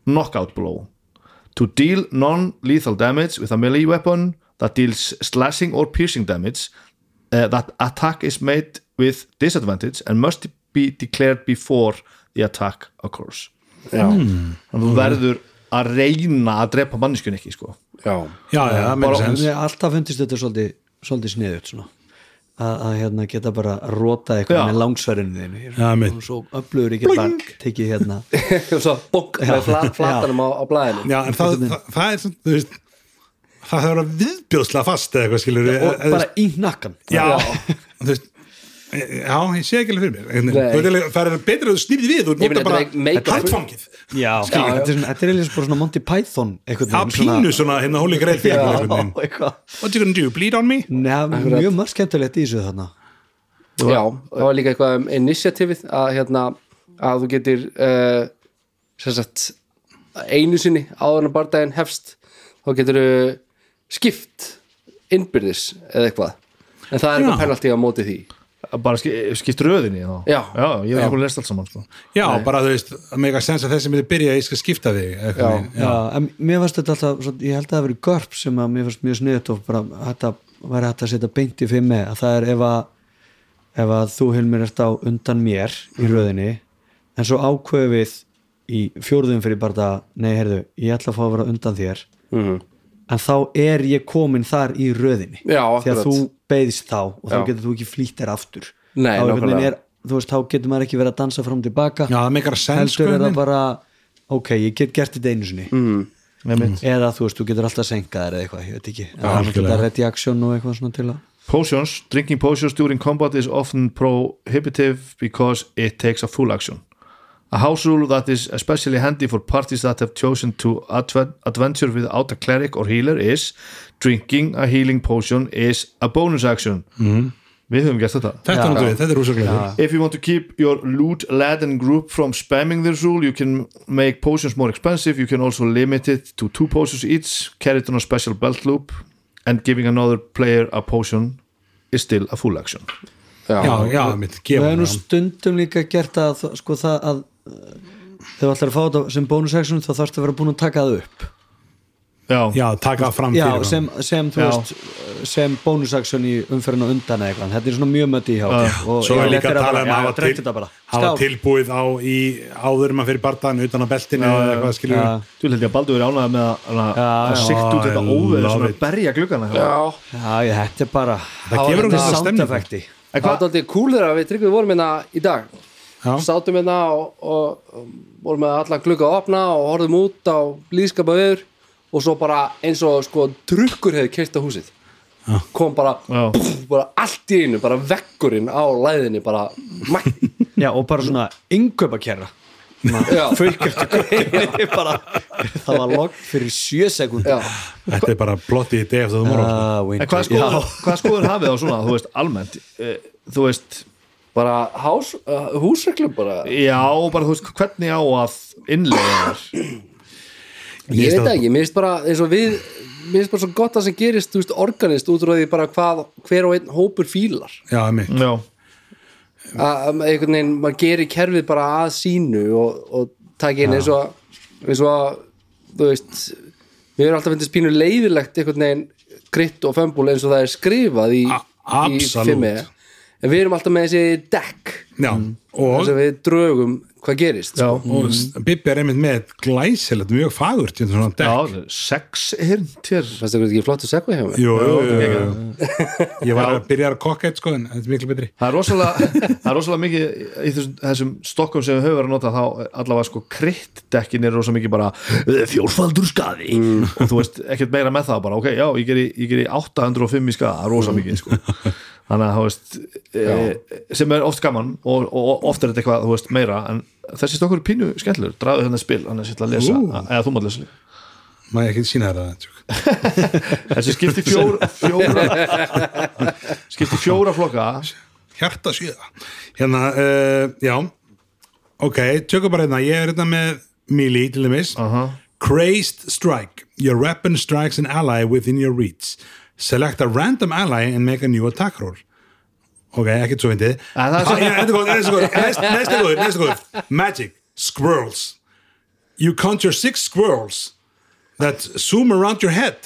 [SPEAKER 4] knockout blow to deal non-lethal damage with a melee weapon that deals slashing or piercing damage uh, that attack is made with disadvantage and must be declared before the attack occurs
[SPEAKER 1] já,
[SPEAKER 3] Mm.
[SPEAKER 4] þannig að þú verður að reyna að drepa manneskjun ekki sko
[SPEAKER 1] já,
[SPEAKER 3] já, já, það meira
[SPEAKER 5] En
[SPEAKER 3] sens
[SPEAKER 5] mér alltaf fundist þetta svolítið, svolítið sniðut svona að, að hérna geta bara að rota eitthvað
[SPEAKER 4] Já.
[SPEAKER 5] með langsverðinu þínu Ég er
[SPEAKER 3] Já, mitt.
[SPEAKER 5] svo öflugur ég get bara tekið hérna
[SPEAKER 1] og svo bók með flat, flatanum á, á blæðinu
[SPEAKER 3] já, en það, það, það er svona, þú veist það þarf að vera viðbjóðslega fast eða eitthvað skilur við
[SPEAKER 5] og bara í nakkan
[SPEAKER 3] já, þú veist já, ég sé ekki alveg fyrir mér Einhvern veginn.
[SPEAKER 1] Nei.
[SPEAKER 3] Þú veit alveg, það er betur að þú snýrði við þú
[SPEAKER 1] Ég meina,
[SPEAKER 3] notar
[SPEAKER 1] þetta er make-
[SPEAKER 3] bara
[SPEAKER 1] make-
[SPEAKER 3] handfangið
[SPEAKER 5] já, já,
[SPEAKER 1] já.
[SPEAKER 5] þetta er svona- þetta er eða bara svona Monty Python einhvern
[SPEAKER 3] það pínu svona hérna hóli greið fyrir
[SPEAKER 5] Já,
[SPEAKER 3] einhvern veginn.
[SPEAKER 5] eitthvað
[SPEAKER 3] what you gonna do, bleed on me
[SPEAKER 5] Nei, mjög margt skemmtilegt í þessu þarna
[SPEAKER 1] já, það var líka eitthvað um initiativið að hérna að þú getur uh, sem sagt einu sinni áður en bardaginn hefst þá getur skipt innbyrðis eða eitthvað en það er
[SPEAKER 3] Já.
[SPEAKER 1] eitthvað penalti á móti því
[SPEAKER 4] bara sk skipt röðinni þá.
[SPEAKER 1] Já.
[SPEAKER 4] já, ég hef ekki lest allt saman sko
[SPEAKER 3] já, bara þú veist, að mega sens að þessi myndi byrja ég skal skipta þig einhvern
[SPEAKER 1] Já.
[SPEAKER 3] veginn.
[SPEAKER 5] já, en mér fannst þetta alltaf svo, ég held að það hafi verið görp sem að mér fannst mjög sniðut og bara þetta væri hægt að setja beint í fimmi að það er ef að ef að þú Hilmir ert á undan mér
[SPEAKER 1] Mhm.
[SPEAKER 5] í röðinni en svo ákveðum við í fjórðum fyrir bara það, nei heyrðu, ég ætla að fá að vera undan þér
[SPEAKER 1] Mhm.
[SPEAKER 5] en þá er ég komin þar í röðinni
[SPEAKER 1] Já,
[SPEAKER 5] því að
[SPEAKER 1] akkurat.
[SPEAKER 5] þú beðist þá og þá
[SPEAKER 1] Já.
[SPEAKER 5] getur þú ekki flýtt þér aftur
[SPEAKER 1] Nei,
[SPEAKER 5] þá, einhvern veginn
[SPEAKER 1] nákvæmlega.
[SPEAKER 5] er, þú veist, þá getur maður ekki verið að dansa fram og tilbaka
[SPEAKER 3] já, það megar sens
[SPEAKER 5] heldur
[SPEAKER 3] sko,
[SPEAKER 5] er það
[SPEAKER 3] einhvern
[SPEAKER 5] bara ok, ég get gert þetta einu sinni mm.
[SPEAKER 4] mm.
[SPEAKER 5] eða þú veist, þú getur alltaf senkað þér eða eitthvað, ég veit ekki en það er
[SPEAKER 3] algjörlega.
[SPEAKER 5] náttúrulega ready action og eitthvað svona til að
[SPEAKER 4] potions, drinking potions during combat is often prohibitive because it takes a full action a house rule that is especially handy for parties that have chosen to adve- adventure without a cleric or healer is drinking a healing potion is a bonus action mm. við höfum gert þetta
[SPEAKER 3] Þetta er náttúrulega, þetta er rúsaglæður
[SPEAKER 4] If you want to keep your loot laden group from spamming their rule, you can make potions more expensive. You can also limit it to two potions each, carry it on a special belt loop, and giving another player a potion is still a full action.
[SPEAKER 3] Já, já, mitt,
[SPEAKER 5] Við
[SPEAKER 3] gefa
[SPEAKER 5] hefum
[SPEAKER 3] hann
[SPEAKER 5] nú stundum líka gert að sko það að uh, þegar allar að fá þetta sem bónusaction þá þarfst að vera búin að taka það upp
[SPEAKER 4] Já,
[SPEAKER 3] Já, taka það fram
[SPEAKER 5] Já,
[SPEAKER 3] Mm. fyrir
[SPEAKER 5] sem, sem, þú
[SPEAKER 4] Já.
[SPEAKER 5] Veist, uh, sem bónusaction í umferðin og undan eða eitthvað þetta er svona mjög mötti í hjá
[SPEAKER 3] Svo er
[SPEAKER 5] og yfirleitt
[SPEAKER 3] líka
[SPEAKER 5] er
[SPEAKER 3] að tala
[SPEAKER 5] bara,
[SPEAKER 3] um
[SPEAKER 5] já,
[SPEAKER 3] að hafa,
[SPEAKER 5] drekktu
[SPEAKER 3] til,
[SPEAKER 5] þetta bara.
[SPEAKER 3] hafa
[SPEAKER 5] Skál.
[SPEAKER 3] tilbúið á í áður maður fyrir bardaðan utan á beltinu eða eitthvað skilur
[SPEAKER 5] Já.
[SPEAKER 4] þú held ég að Baldur er ánægða með að- að að sikta út þetta
[SPEAKER 3] I
[SPEAKER 4] óveður
[SPEAKER 3] love
[SPEAKER 4] sem er
[SPEAKER 3] it.
[SPEAKER 4] að berja gluggana. hjá.
[SPEAKER 5] Já, ég, þetta er bara
[SPEAKER 3] Það gefur okkur
[SPEAKER 5] þetta
[SPEAKER 3] þessa stemningu.
[SPEAKER 5] soundeffekti
[SPEAKER 1] Það er
[SPEAKER 4] En hvað?
[SPEAKER 1] aldrei cool þegar að við tryggum við vorum hérna í dag
[SPEAKER 3] Já.
[SPEAKER 1] Sátum hérna og, og um, vorum með allan glugga að opna og horfðum út á líðskapa viður og svo bara eins og sko drukkur hefði kert á húsið
[SPEAKER 3] Já.
[SPEAKER 1] kom bara,
[SPEAKER 4] Já.
[SPEAKER 1] pff, bara allt í einu bara veggurinn á læðinni bara mætt
[SPEAKER 5] Já, og bara svona yngöpa kjæra
[SPEAKER 1] Já,
[SPEAKER 5] Þetta er bara það var logg fyrir sjö Ah, sekund
[SPEAKER 1] já,
[SPEAKER 3] Þetta er bara plottið í deg eftir þú morgun
[SPEAKER 4] En hvað skoður, hvað skoður hafið á svona, þú veist, almennt? Eh, Þú veist,
[SPEAKER 1] bara hás, uh, húsreglum bara
[SPEAKER 4] já, bara þú veist, hvernig á að innlega þér?
[SPEAKER 1] Ég
[SPEAKER 3] finnst
[SPEAKER 1] veit
[SPEAKER 3] það-
[SPEAKER 1] ekki, mér finnst bara eins og við mér finnst bara svo gott að sem gerist þú veist, organist út úr því bara hvað hver og einn hópur fílar
[SPEAKER 3] Já, mitt
[SPEAKER 5] Mm.
[SPEAKER 4] Já,
[SPEAKER 1] að að einhvern veginn, maður gerir kerfið bara að sínu og, og takk inn eins og eins og að, þú veist mér er alltaf finnst pínu leiðilegt einhvern veginn krytt og fömbul eins og það er skrifað í,
[SPEAKER 3] A-
[SPEAKER 1] í
[SPEAKER 3] absolút.
[SPEAKER 1] fimmi en við erum alltaf með þessi deck
[SPEAKER 3] Já,
[SPEAKER 5] Mm.
[SPEAKER 1] þess
[SPEAKER 3] og,
[SPEAKER 1] að við drögum hvað gerist
[SPEAKER 4] já,
[SPEAKER 3] og Bibbi er einmitt með glæsilegt, mjög fagurt hérna svona dekk.
[SPEAKER 4] já, sex hirntir.
[SPEAKER 1] fannst það ekki flott að segja hjá mig
[SPEAKER 3] Jú, jú, jú, jú, jú. Ég var að byrja að kokka eitt sko en þetta er miklu betri
[SPEAKER 4] Það er rosalega, það er rosalega mikið í þessum, þessum stokkum sem við höfum verið að nota þá er allavega sko kryttdekkin er rosalega mikið bara "Eh, fjórfaldur skaði
[SPEAKER 5] Mm.
[SPEAKER 4] og þú veist ekkert meira með það bara ok, já, ég geri, ég geri 805 í skaða, rosalega mikið sko þannig að þú veist e, sem er oft gaman og, og oft er þetta eitthvað þú veist meira en þessi stokkur er pínu skemmtlur, draðu hérna spil, hann er sitt að lesa
[SPEAKER 3] Ú.
[SPEAKER 4] eða þú maður lesa líka
[SPEAKER 3] Má ég ekki sína þér það tjúk.
[SPEAKER 4] þessi skipti fjóra, fjóra skipti fjóra flokka
[SPEAKER 3] Hjarta síða Hérna, uh, já Ok, tjökum bara hérna, ég er hérna með Mili til dæmis Crazed Strike Your weapon strikes an ally within your reach Select a random ally and make a new attack roll Ok, ekkert svo fyndið
[SPEAKER 4] Ja, það er svo-
[SPEAKER 3] Ah, já, Þetta er góð, þetta er svo góð Næst- Næsta góð, næsta góð Magic, squirrels You conjure six squirrels that zoom around your head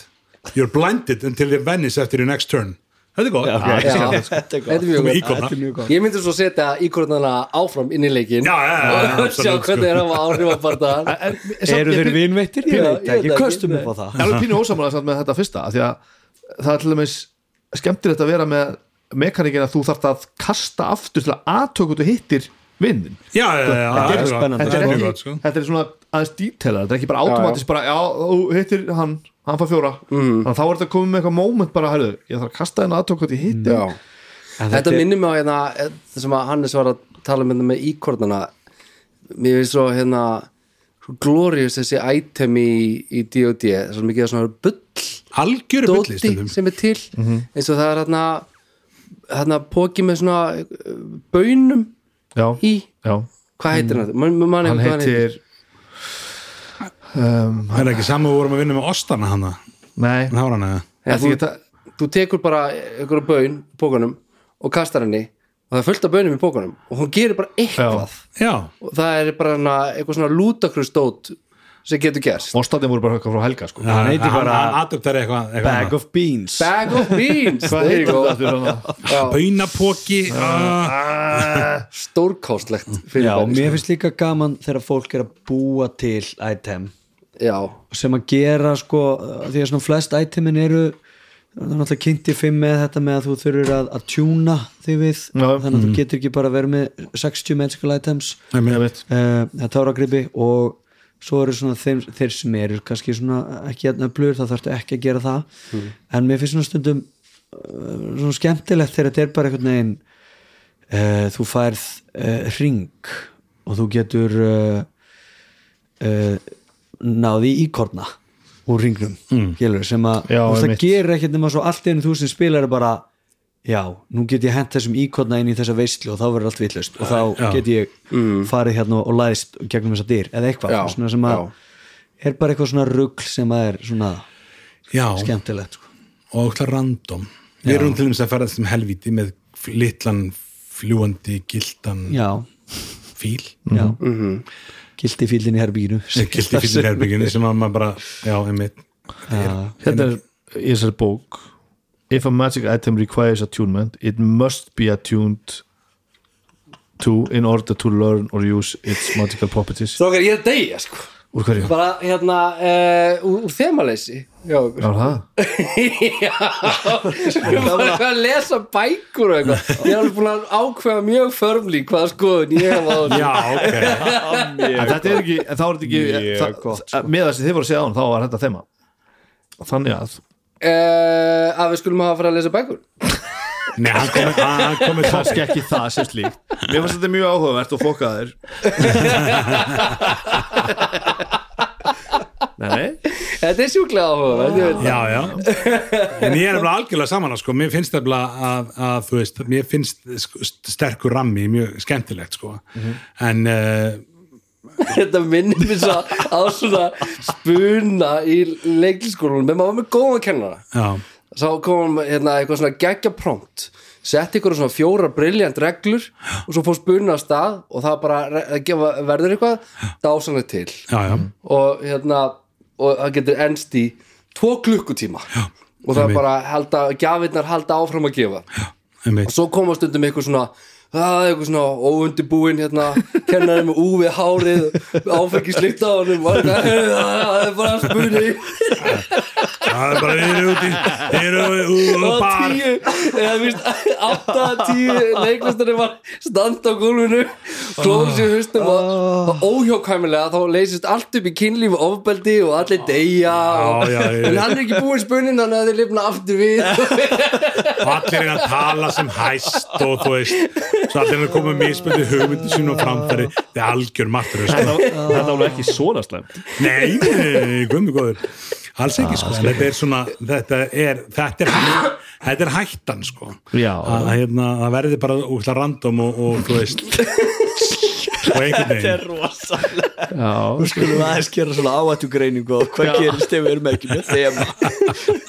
[SPEAKER 3] You're blinded until they vanish after your next turn Þetta er góð
[SPEAKER 1] Já,
[SPEAKER 3] Já,
[SPEAKER 1] þetta er
[SPEAKER 5] sko.
[SPEAKER 1] mjög
[SPEAKER 3] með
[SPEAKER 1] gott
[SPEAKER 3] íkorna
[SPEAKER 1] Ég myndi svo setja íkornana áfram inn í leikin
[SPEAKER 3] Já, já, já, já,
[SPEAKER 1] og sjá
[SPEAKER 3] absolutt, sko.
[SPEAKER 1] hvernig er að áhrif að barða
[SPEAKER 4] En- en- samt-
[SPEAKER 5] Eru
[SPEAKER 4] ég
[SPEAKER 5] þeir
[SPEAKER 4] pín-
[SPEAKER 5] vinveittir? Ég
[SPEAKER 1] Já,
[SPEAKER 5] veit
[SPEAKER 1] ég
[SPEAKER 5] ekki,
[SPEAKER 1] veit ekki, nei.
[SPEAKER 5] köstum upp á það
[SPEAKER 4] Ég er alveg pínu ósamála samt með þetta fyrsta af því að það er til dæmis skemmtilegt að vera með mekaníkin að þú þarft að kasta aftur til að aðtöku þú hittir vinnin
[SPEAKER 3] Já, já, já, já,
[SPEAKER 5] Þetta er
[SPEAKER 3] já,
[SPEAKER 5] spennandi.
[SPEAKER 3] þetta
[SPEAKER 4] þetta
[SPEAKER 3] er
[SPEAKER 4] er,
[SPEAKER 3] mjög
[SPEAKER 4] ekki,
[SPEAKER 3] gott sko
[SPEAKER 4] þetta er svona aðeins dítelar þetta er ekki bara automatist bara já, Mhm. þú hittir hann, hann fær fjóra þannig að þá er þetta komið með eitthvað moment bara, herðu, ég þarf að kasta hérna henni aðtöku þú hittir
[SPEAKER 1] Já. Þetta minnir mig á hérna það sem að Hannes var að tala um hérna með íkornana mér finnst svo hérna svo glorious þessi item í, í D.O.D. svo mikið af svona bull
[SPEAKER 3] algjöru bulli
[SPEAKER 1] dóti
[SPEAKER 3] stundum
[SPEAKER 1] sem er til eins og það er hérna hérna póki með svona uh, baunum
[SPEAKER 4] já,
[SPEAKER 1] í
[SPEAKER 4] já,
[SPEAKER 1] hvað heitir hann? Man, man,
[SPEAKER 4] hann heitir um,
[SPEAKER 3] það er ekki saman við vorum að vinna með ostana hana
[SPEAKER 4] nei,
[SPEAKER 3] en hára hana
[SPEAKER 1] ja,
[SPEAKER 4] ég
[SPEAKER 1] þú,
[SPEAKER 4] því þetta
[SPEAKER 1] þú tekur bara einhverja baun pókanum og kastar henni og það er fullt af baunum í pókanum og hún gerir bara eitthvað
[SPEAKER 3] já,
[SPEAKER 1] og það er bara hana, eitthvað svona lútakrustót sem getur gerst
[SPEAKER 4] Mostatin voru bara höfka frá Helga sko
[SPEAKER 3] hann
[SPEAKER 5] heitir bara-
[SPEAKER 3] aðdöptar eitthvað eitthvað
[SPEAKER 5] Bag
[SPEAKER 3] annað.
[SPEAKER 5] of beans
[SPEAKER 1] Bag of beans
[SPEAKER 4] hvað
[SPEAKER 1] there you
[SPEAKER 4] heitir
[SPEAKER 1] go.
[SPEAKER 4] þetta aftur hann?
[SPEAKER 1] Já,
[SPEAKER 3] baunapoki ah,
[SPEAKER 1] stórkástlegt fyrir
[SPEAKER 5] Já,
[SPEAKER 1] bæði,
[SPEAKER 5] mér finnst líka gaman þegar fólk er að búa til item
[SPEAKER 1] sko. já,
[SPEAKER 5] sem að gera sko uh, því að svona flest itemin eru það er náttúrulega kynnt í fimm með þetta með að þú þurfir að, að tjúna þig við
[SPEAKER 4] Já.
[SPEAKER 5] þannig að þú getur ekki bara að vera með 60 magical items
[SPEAKER 3] Nei,
[SPEAKER 4] Ég
[SPEAKER 3] mér-
[SPEAKER 4] veit.
[SPEAKER 5] uh, þetta áragripi og svo eru svona þeir, þeir sem eru kannski svona ekki öflur, það þarftu ekki að gera það en mér finnst svona stundum uh, svona skemmtilegt þegar þetta er bara einhvern veginn uh, þú færð uh, ring og þú getur uh, uh, náði íkorna úr ringnum mm. sem að
[SPEAKER 4] Já,
[SPEAKER 5] þú veist, það
[SPEAKER 4] einmitt.
[SPEAKER 5] gerir ekkert nema svo allt einu þú sem spilar er bara já, nú get ég hent þessum íkotna inn í þessa veistlu og þá verður allt vitlaust og þá
[SPEAKER 3] Já.
[SPEAKER 5] get ég farið hérna og læðist gegnum þessa dyr eða eitthvað
[SPEAKER 1] Mm. Já,
[SPEAKER 5] svona sem að
[SPEAKER 1] já.
[SPEAKER 5] er bara eitthvað svona rugl sem að er svona
[SPEAKER 3] já,
[SPEAKER 5] skemmtilegt sko.
[SPEAKER 3] og það random við erum til þess að ferðast um helvíti með f- litlan fljúandi gildan
[SPEAKER 5] já,
[SPEAKER 3] fíl
[SPEAKER 5] já gildi fílinn í herbygginu
[SPEAKER 3] gildi fyrir herbygginu sem að maður bara já, einmitt
[SPEAKER 4] Þetta er í þessari bók If a magic item requires attunement it must be attuned to in order to learn or use its magical properties
[SPEAKER 1] Strókar, ég er að deyja sko
[SPEAKER 4] Úr hverju?
[SPEAKER 1] bara hérna uh, úr, úr þemaleysi já,
[SPEAKER 4] Já, það
[SPEAKER 1] við erum bara eitthvað að lesa bækur og eitthvað ég er alveg búin að ákveða mjög förmli hvaða skoðun ég hef á þessu
[SPEAKER 3] já, ok,
[SPEAKER 4] En þetta er ekki, en þá er þetta ekki
[SPEAKER 2] Mjög
[SPEAKER 4] það,
[SPEAKER 2] gott,
[SPEAKER 4] sko. Með það sem þið voru að segja á hann, þá var þetta þema Þannig að
[SPEAKER 1] uh, að við skulum hafa að fara að lesa bækur
[SPEAKER 3] nei, hann komið hann komið
[SPEAKER 4] kannski ekki það sem slíkt Mér fannst þetta mjög áhugavert og fokkaðir Nei, nei
[SPEAKER 1] þetta er sjúklega áhuga ég veit það.
[SPEAKER 3] já, já en ég er alveg algjörlega saman sko. mér finnst það að, að þú veist mér finnst sk- st- sterkur rammi mjög skemmtilegt sko. en uh,
[SPEAKER 1] þetta minnir mér svo á svona spuna í leikliskólanum en maður var með góða kennara
[SPEAKER 3] já,
[SPEAKER 1] þá kom hérna, eitthvað svona geggja prompt sett ykkur á svona fjóra briljant reglur og svo fór spuna af stað og það bara re- gefa, verður eitthvað dásanlega til
[SPEAKER 3] já, já
[SPEAKER 1] og hérna og það getur ennst í tvo klukkutíma Já, og það
[SPEAKER 3] einmitt.
[SPEAKER 1] bara halda, gjafirnar halda áfram að gefa Já. og
[SPEAKER 3] einmitt,
[SPEAKER 1] svo koma stundum eitthvað svona að eitthvað svona óundibúin hérna, kennarinn með úfið hárið áfengislíkt á honum og það það er bara spurning
[SPEAKER 3] það er bara við erum úti við erum úr
[SPEAKER 1] og
[SPEAKER 3] bar
[SPEAKER 1] tíu eða víst, átta að tíu leiklistarinn var standa á gólfinu klófið sér hustum og,
[SPEAKER 5] Ah.
[SPEAKER 1] og óhjókvæmilega þá leysist allt upp í kynlíf og ofbeldi og allir deyja og,
[SPEAKER 3] Já, já, já.
[SPEAKER 1] en hann er ekki búinn spunnin þannig að þeir lifna aftur við
[SPEAKER 3] og allir er að tala sem hæst og þú veist, svo allir er að koma með mismöndi hugmyndi sín og framfæri það er algjör martur sko.
[SPEAKER 4] Þetta er alveg ekki svona slæmt
[SPEAKER 3] nei, nei, gummi góður alls ekki
[SPEAKER 4] Ah,
[SPEAKER 3] sko, en þetta er svona þetta er, þetta er, þetta er hættan sko,
[SPEAKER 4] Já.
[SPEAKER 3] að hérna, það verði bara útla random og, og þú veist og einhvern veginn
[SPEAKER 5] rosalega
[SPEAKER 4] Já,
[SPEAKER 5] Nú skulum við aðeins gera svona áættugreiningu og hvað gerist ef við erum ekki með þema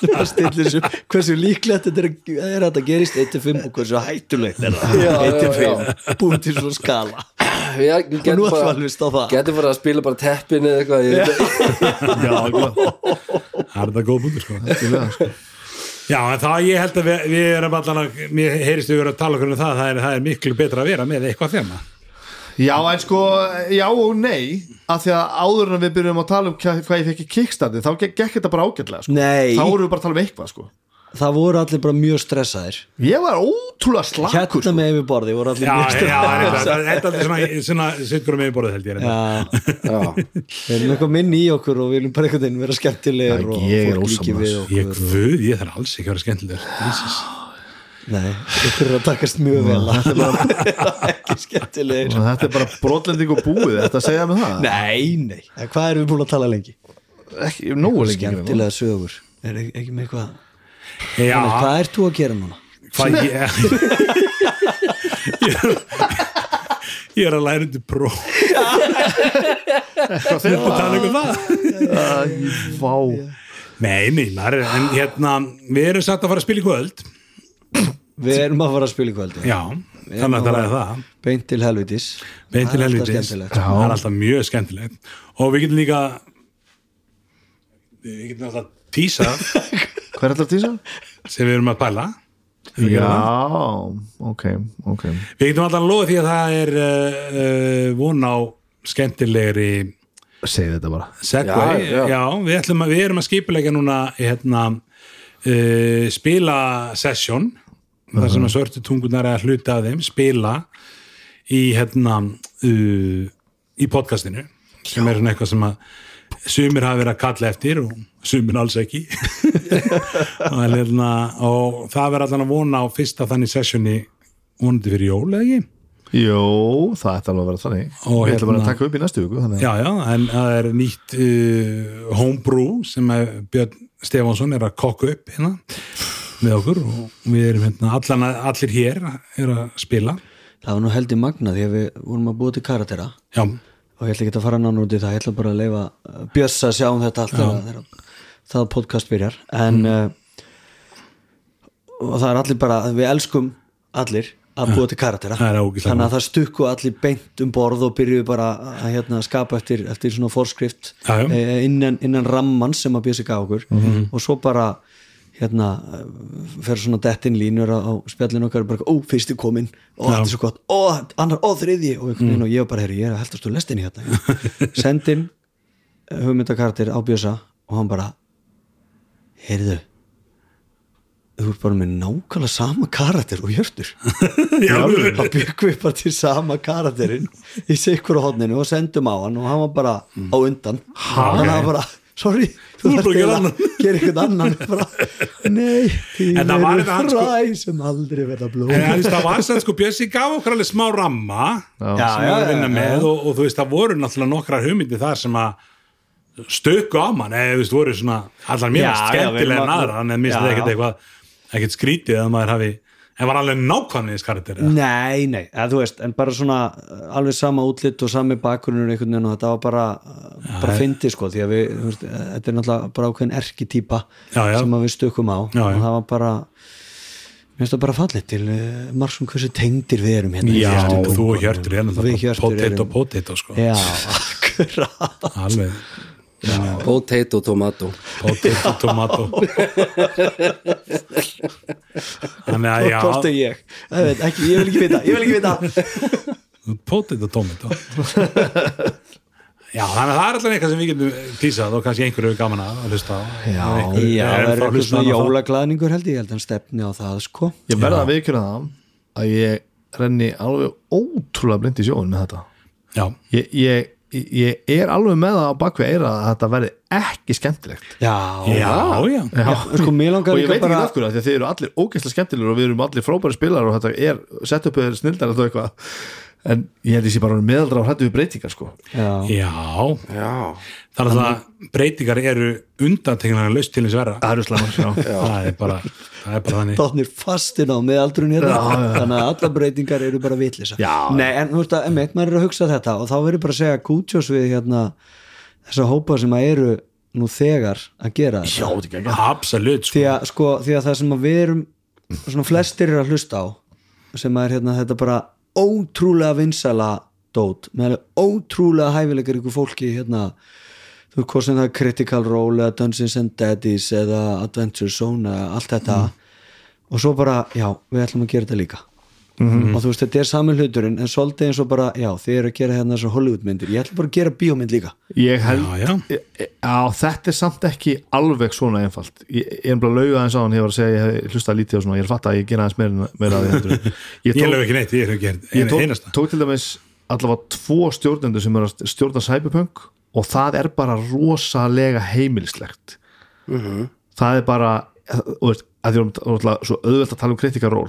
[SPEAKER 5] Það stillir svo hversu líklegt þetta er, að- er að þetta gerist 1-5 og hversu hættulegt er
[SPEAKER 1] Já, já,
[SPEAKER 5] það 1-5, búin til svona skala
[SPEAKER 1] ég
[SPEAKER 5] og
[SPEAKER 1] getur
[SPEAKER 5] nú ætlum við að
[SPEAKER 1] bara,
[SPEAKER 5] hlusta á það
[SPEAKER 1] getur bara að spila bara teppin eða eitthvað ég, veit ekki.
[SPEAKER 4] já, gott
[SPEAKER 3] það er þetta góð bútur sko
[SPEAKER 4] Algjörlega, sko.
[SPEAKER 3] já, en það ég held að við, við erum allan að mér heyrist við erum að tala okkur um það það er, það er miklu betra að vera með eitthvað þema
[SPEAKER 4] Já, en sko, já og nei af því að áður en við byrjum að tala um hvað hvað ég fekk í kickstarti, þá gekk gekk þetta bara ágætlega sko.
[SPEAKER 5] Nei,
[SPEAKER 4] þá vorum við bara að tala um eitthvað sko.
[SPEAKER 5] það voru allir bara mjög stressaðir
[SPEAKER 4] ég var ótrúlega slakur
[SPEAKER 5] Hérna
[SPEAKER 4] sko.
[SPEAKER 5] með yfir borði voru allir
[SPEAKER 3] já,
[SPEAKER 5] mjög
[SPEAKER 3] já, það er
[SPEAKER 5] stressaðir
[SPEAKER 3] þetta þetta er allir svona, svona sittur um yfirborðið held ég reyndar.
[SPEAKER 5] Já,
[SPEAKER 1] Já.
[SPEAKER 5] við erum eitthvað minni í okkur og við viljum bara einhvern veginn vera skemmtilegir
[SPEAKER 4] Já,
[SPEAKER 5] og
[SPEAKER 4] ég er
[SPEAKER 5] fólk líki
[SPEAKER 4] ósammála
[SPEAKER 5] við
[SPEAKER 4] þessu.
[SPEAKER 3] Ég
[SPEAKER 5] okkur
[SPEAKER 3] guð, ég þarf alls ekki að vera skemmtilegur Jesus.
[SPEAKER 5] Nei, ykkur er að takast mjög vel að ekki skemmtilegir
[SPEAKER 4] Þannig að þetta er bara brotlending og búið þetta að segja með það
[SPEAKER 5] Nei, nei, En hvað erum við búin að tala lengi?
[SPEAKER 4] ekki, nógu lengi greinilega.
[SPEAKER 5] Skemmtilega sögur Er ek- ekki með eitthvað
[SPEAKER 3] Já,
[SPEAKER 5] Hannes, Hvað ert þú að gera núna?
[SPEAKER 3] hvað ég ég, ég er að læra undir próf
[SPEAKER 4] Hvað þeir
[SPEAKER 3] og tala ykkur það
[SPEAKER 4] Vá,
[SPEAKER 3] Nei, nei, maður er, en hérna við erum satt að fara að spila í kvöld
[SPEAKER 5] Við erum að fara að spila í kvöldi
[SPEAKER 3] Já, þannig að það er það
[SPEAKER 5] Beint til helvitis
[SPEAKER 3] Beint til
[SPEAKER 5] Það er alltaf
[SPEAKER 3] helvitis,
[SPEAKER 5] skemmtilegt.
[SPEAKER 3] það er alltaf mjög skemmtilegt og við getum líka við getum alltaf tísa
[SPEAKER 4] hver er allar tísa?
[SPEAKER 3] sem við erum að pæla
[SPEAKER 4] Já, ok, ok
[SPEAKER 3] Við getum alltaf að lofa því að það er uh, uh, von á skemmtilegri
[SPEAKER 4] Segð þetta bara
[SPEAKER 3] Segway, já,
[SPEAKER 1] Já, já.
[SPEAKER 3] við, ætlum að, við erum að skipulegja núna hérna, uh, spila session,
[SPEAKER 4] Mhm.
[SPEAKER 3] þar sem að svörtu tungunar er að hluta af þeim, spila í hérna uh, í podcastinu sem er svona eitthvað sem að sumir hafa verið að kalla eftir og sumir alls ekki og, hérna, og það verður allan að vona á fyrsta þannig sessioni vonandi fyrir jól eða ekki
[SPEAKER 4] Jó, það ætti alveg að vera þannig
[SPEAKER 3] Og
[SPEAKER 4] Við ætlum bara
[SPEAKER 3] hérna-
[SPEAKER 4] að taka upp í næstu viku þannig.
[SPEAKER 3] Já, já, en það er nýtt uh, homebrew sem að Björn Stefánsson er að kokka upp hérna með okkur og við erum hérna allan, allir hér er að spila
[SPEAKER 5] það var nú heldur magna því að við vorum að búa til karatera
[SPEAKER 3] já,
[SPEAKER 5] og ég ætla ekki að fara nánu út í það ég ætla bara að leifa Bjössa að sjá um þetta allt þegar þegar það podcast byrjar
[SPEAKER 3] Mm.
[SPEAKER 5] en uh, og það er allir bara við elskum allir að búa til karatera
[SPEAKER 3] Það er ógeðslega
[SPEAKER 5] þannig að það stukku allir beint um borð og byrjuðu bara að hérna, skapa eftir, eftir svona forskrift
[SPEAKER 3] Já, Mhm. já.
[SPEAKER 5] eh, innan, innan ramman sem að Bjössi gaf okkur og svo bara hérna eh, fer svona dettin línur á, á spjallin okkar bara, ó, fyrsti komin ó, þetta er svo gott, ó, annar, ó, þriðji og, einhvern
[SPEAKER 3] Mm.
[SPEAKER 5] veginn og ég var bara, herri, ég er að heldast úr lestinni hérna sendin hugmyndakartir á Bjösa og hann bara heyrðu þú ert bara með nákvæmlega sama karakter og hjörtur
[SPEAKER 3] já,
[SPEAKER 5] þá byggum við bara til sama karakterinn í sikkur hodninu og sendum á hann og hann var bara á undan hann var bara, sorry
[SPEAKER 3] Mm. Þú
[SPEAKER 5] þú
[SPEAKER 3] ert
[SPEAKER 5] þarft
[SPEAKER 3] bara að gera
[SPEAKER 5] eiginlega að gera eitthvað annan bara, nei, því
[SPEAKER 3] En það var
[SPEAKER 5] eru
[SPEAKER 3] þetta hann, sko-
[SPEAKER 5] fræ sem aldrei verða blóm
[SPEAKER 3] en þú veist, það var sem sko Bjössi gaf okkur alveg smá ramma já, sem
[SPEAKER 5] Já,
[SPEAKER 3] við var að
[SPEAKER 5] já,
[SPEAKER 3] vinna
[SPEAKER 5] já,
[SPEAKER 3] með og, og þú veist, það voru náttúrulega nokkrar hugmyndi þar sem að stöku á mann, eða þú veist, voru svona allar mér
[SPEAKER 5] Já,
[SPEAKER 3] að
[SPEAKER 5] já, við
[SPEAKER 3] skemmtilega
[SPEAKER 5] erum
[SPEAKER 3] en
[SPEAKER 5] að-
[SPEAKER 3] aðra, en mér finnst
[SPEAKER 5] Já.
[SPEAKER 3] þetta ekkert eitthvað ekkert skrítið að maður hafi en var alveg nákvæmniðis karakter eða?
[SPEAKER 5] Nei, nei, eða, þú veist, en bara svona uh, alveg sama útlitt og sami bakgrunnur einhvern veginn og þetta var bara, uh, bara fyndi sko, því að við, þú veist, uh, þetta er náttúrulega bara ákveðin erkitýpa
[SPEAKER 3] Já, já.
[SPEAKER 5] sem að við stökkum á
[SPEAKER 3] Já, já.
[SPEAKER 5] og það var bara mér finnst það bara fallið til uh, margsum hversu tengdir við erum hérna í
[SPEAKER 3] já,
[SPEAKER 5] Hjörtur
[SPEAKER 3] þú
[SPEAKER 5] tungunum.
[SPEAKER 3] og Hjörtur er
[SPEAKER 5] Við
[SPEAKER 3] náttúrulega
[SPEAKER 5] Hjörtur
[SPEAKER 3] potato,
[SPEAKER 5] erum-
[SPEAKER 3] potato sko,
[SPEAKER 5] Já, akkurat
[SPEAKER 3] alveg
[SPEAKER 1] potato tomato
[SPEAKER 3] potato, tomato þannig að
[SPEAKER 5] Hvort er
[SPEAKER 3] já
[SPEAKER 5] ég? Ég veit ekki, ég vil ekki vita, ég vil ekki vita
[SPEAKER 3] potato, tomato já, þannig að það er alltaf eitthvað sem við getum tísað og kannski einhverju hefur gaman að hlusta á
[SPEAKER 5] Já,
[SPEAKER 3] Einhverju
[SPEAKER 5] já,
[SPEAKER 3] er
[SPEAKER 5] það er
[SPEAKER 3] ennþá að
[SPEAKER 5] eitthvað
[SPEAKER 3] hlusta á
[SPEAKER 5] svona
[SPEAKER 3] hana þá.
[SPEAKER 5] jólaglæðningur held ég, ég held hann stefni á það sko
[SPEAKER 4] ég verða að viðkjöna það að ég renni alveg ótrúlega blind í sjóin með þetta
[SPEAKER 3] já,
[SPEAKER 4] ég, ég, ég er alveg með það á bakvið eira að þetta verði ekki skemmtilegt
[SPEAKER 5] Já,
[SPEAKER 3] já, já
[SPEAKER 4] Já.
[SPEAKER 5] sko, mér langar
[SPEAKER 4] og ég
[SPEAKER 5] líka
[SPEAKER 4] veit ekki
[SPEAKER 5] bara-
[SPEAKER 4] af hverju af því að þið eru allir ógeðslega skemmtilegur og við erum allir frábæri spilar og þetta er setupið er snildar og eitthvað en ég held ég sé bara meðaldra á hrættu við breytingar sko
[SPEAKER 5] já.
[SPEAKER 3] já,
[SPEAKER 1] já,
[SPEAKER 3] það er alltaf að breytingar eru undanteknilega laust til þess verða
[SPEAKER 4] það eru slæmar já.
[SPEAKER 3] það er bara, það er bara þannig
[SPEAKER 5] dottnir fastin á meðaldrun hérna þannig að alla breytingar eru bara vitlisa
[SPEAKER 4] Já.
[SPEAKER 5] Nei, en þú veist að emmitt, maður er að hugsa þetta og þá verður bara að segja kútjós við hérna þessa hópa sem að eru nú þegar að gera þetta
[SPEAKER 4] Já, þetta er geggjað.
[SPEAKER 3] absolutt,
[SPEAKER 5] því
[SPEAKER 3] sko,
[SPEAKER 5] að, sko, því að það sem að við erum svona flestir eru að hlusta á sem að er hérna þetta bara ótrúlega vinsala dót með alveg ótrúlega hæfilegar ykkur fólki hérna þú veist hvað sem það er Critical Role eða Dungeons and Daddies eða Adventure Zone eða allt þetta og svo bara, já, við ætlum að gera þetta líka og þú veist, þetta er saman hluturinn en svolítið eins og bara, já, þið eru að gera hérna þessar Hollywoodmyndir, ég ætlum bara að gera bíómynd líka
[SPEAKER 4] ég held
[SPEAKER 3] já, já
[SPEAKER 4] Já, þetta er samt ekki alveg svona einfalt Ég ég er bara að lauga aðeins á hann, ég var að segja að ég hef hlustað lítið og svona, ég er fatt að ég gera aðeins meira, meira að því heldur en-
[SPEAKER 3] ég lög ekki neitt, ég hef gert
[SPEAKER 4] ég
[SPEAKER 3] einu
[SPEAKER 4] tók,
[SPEAKER 3] einasta
[SPEAKER 4] tók til dæmis allavega tvo stjórnendur sem eru að stjórna Cyberpunk og það er bara rosalega heimilislegt það er bara þú veist, að því erum náttúrulega svo auðvelt að tala um kritikaról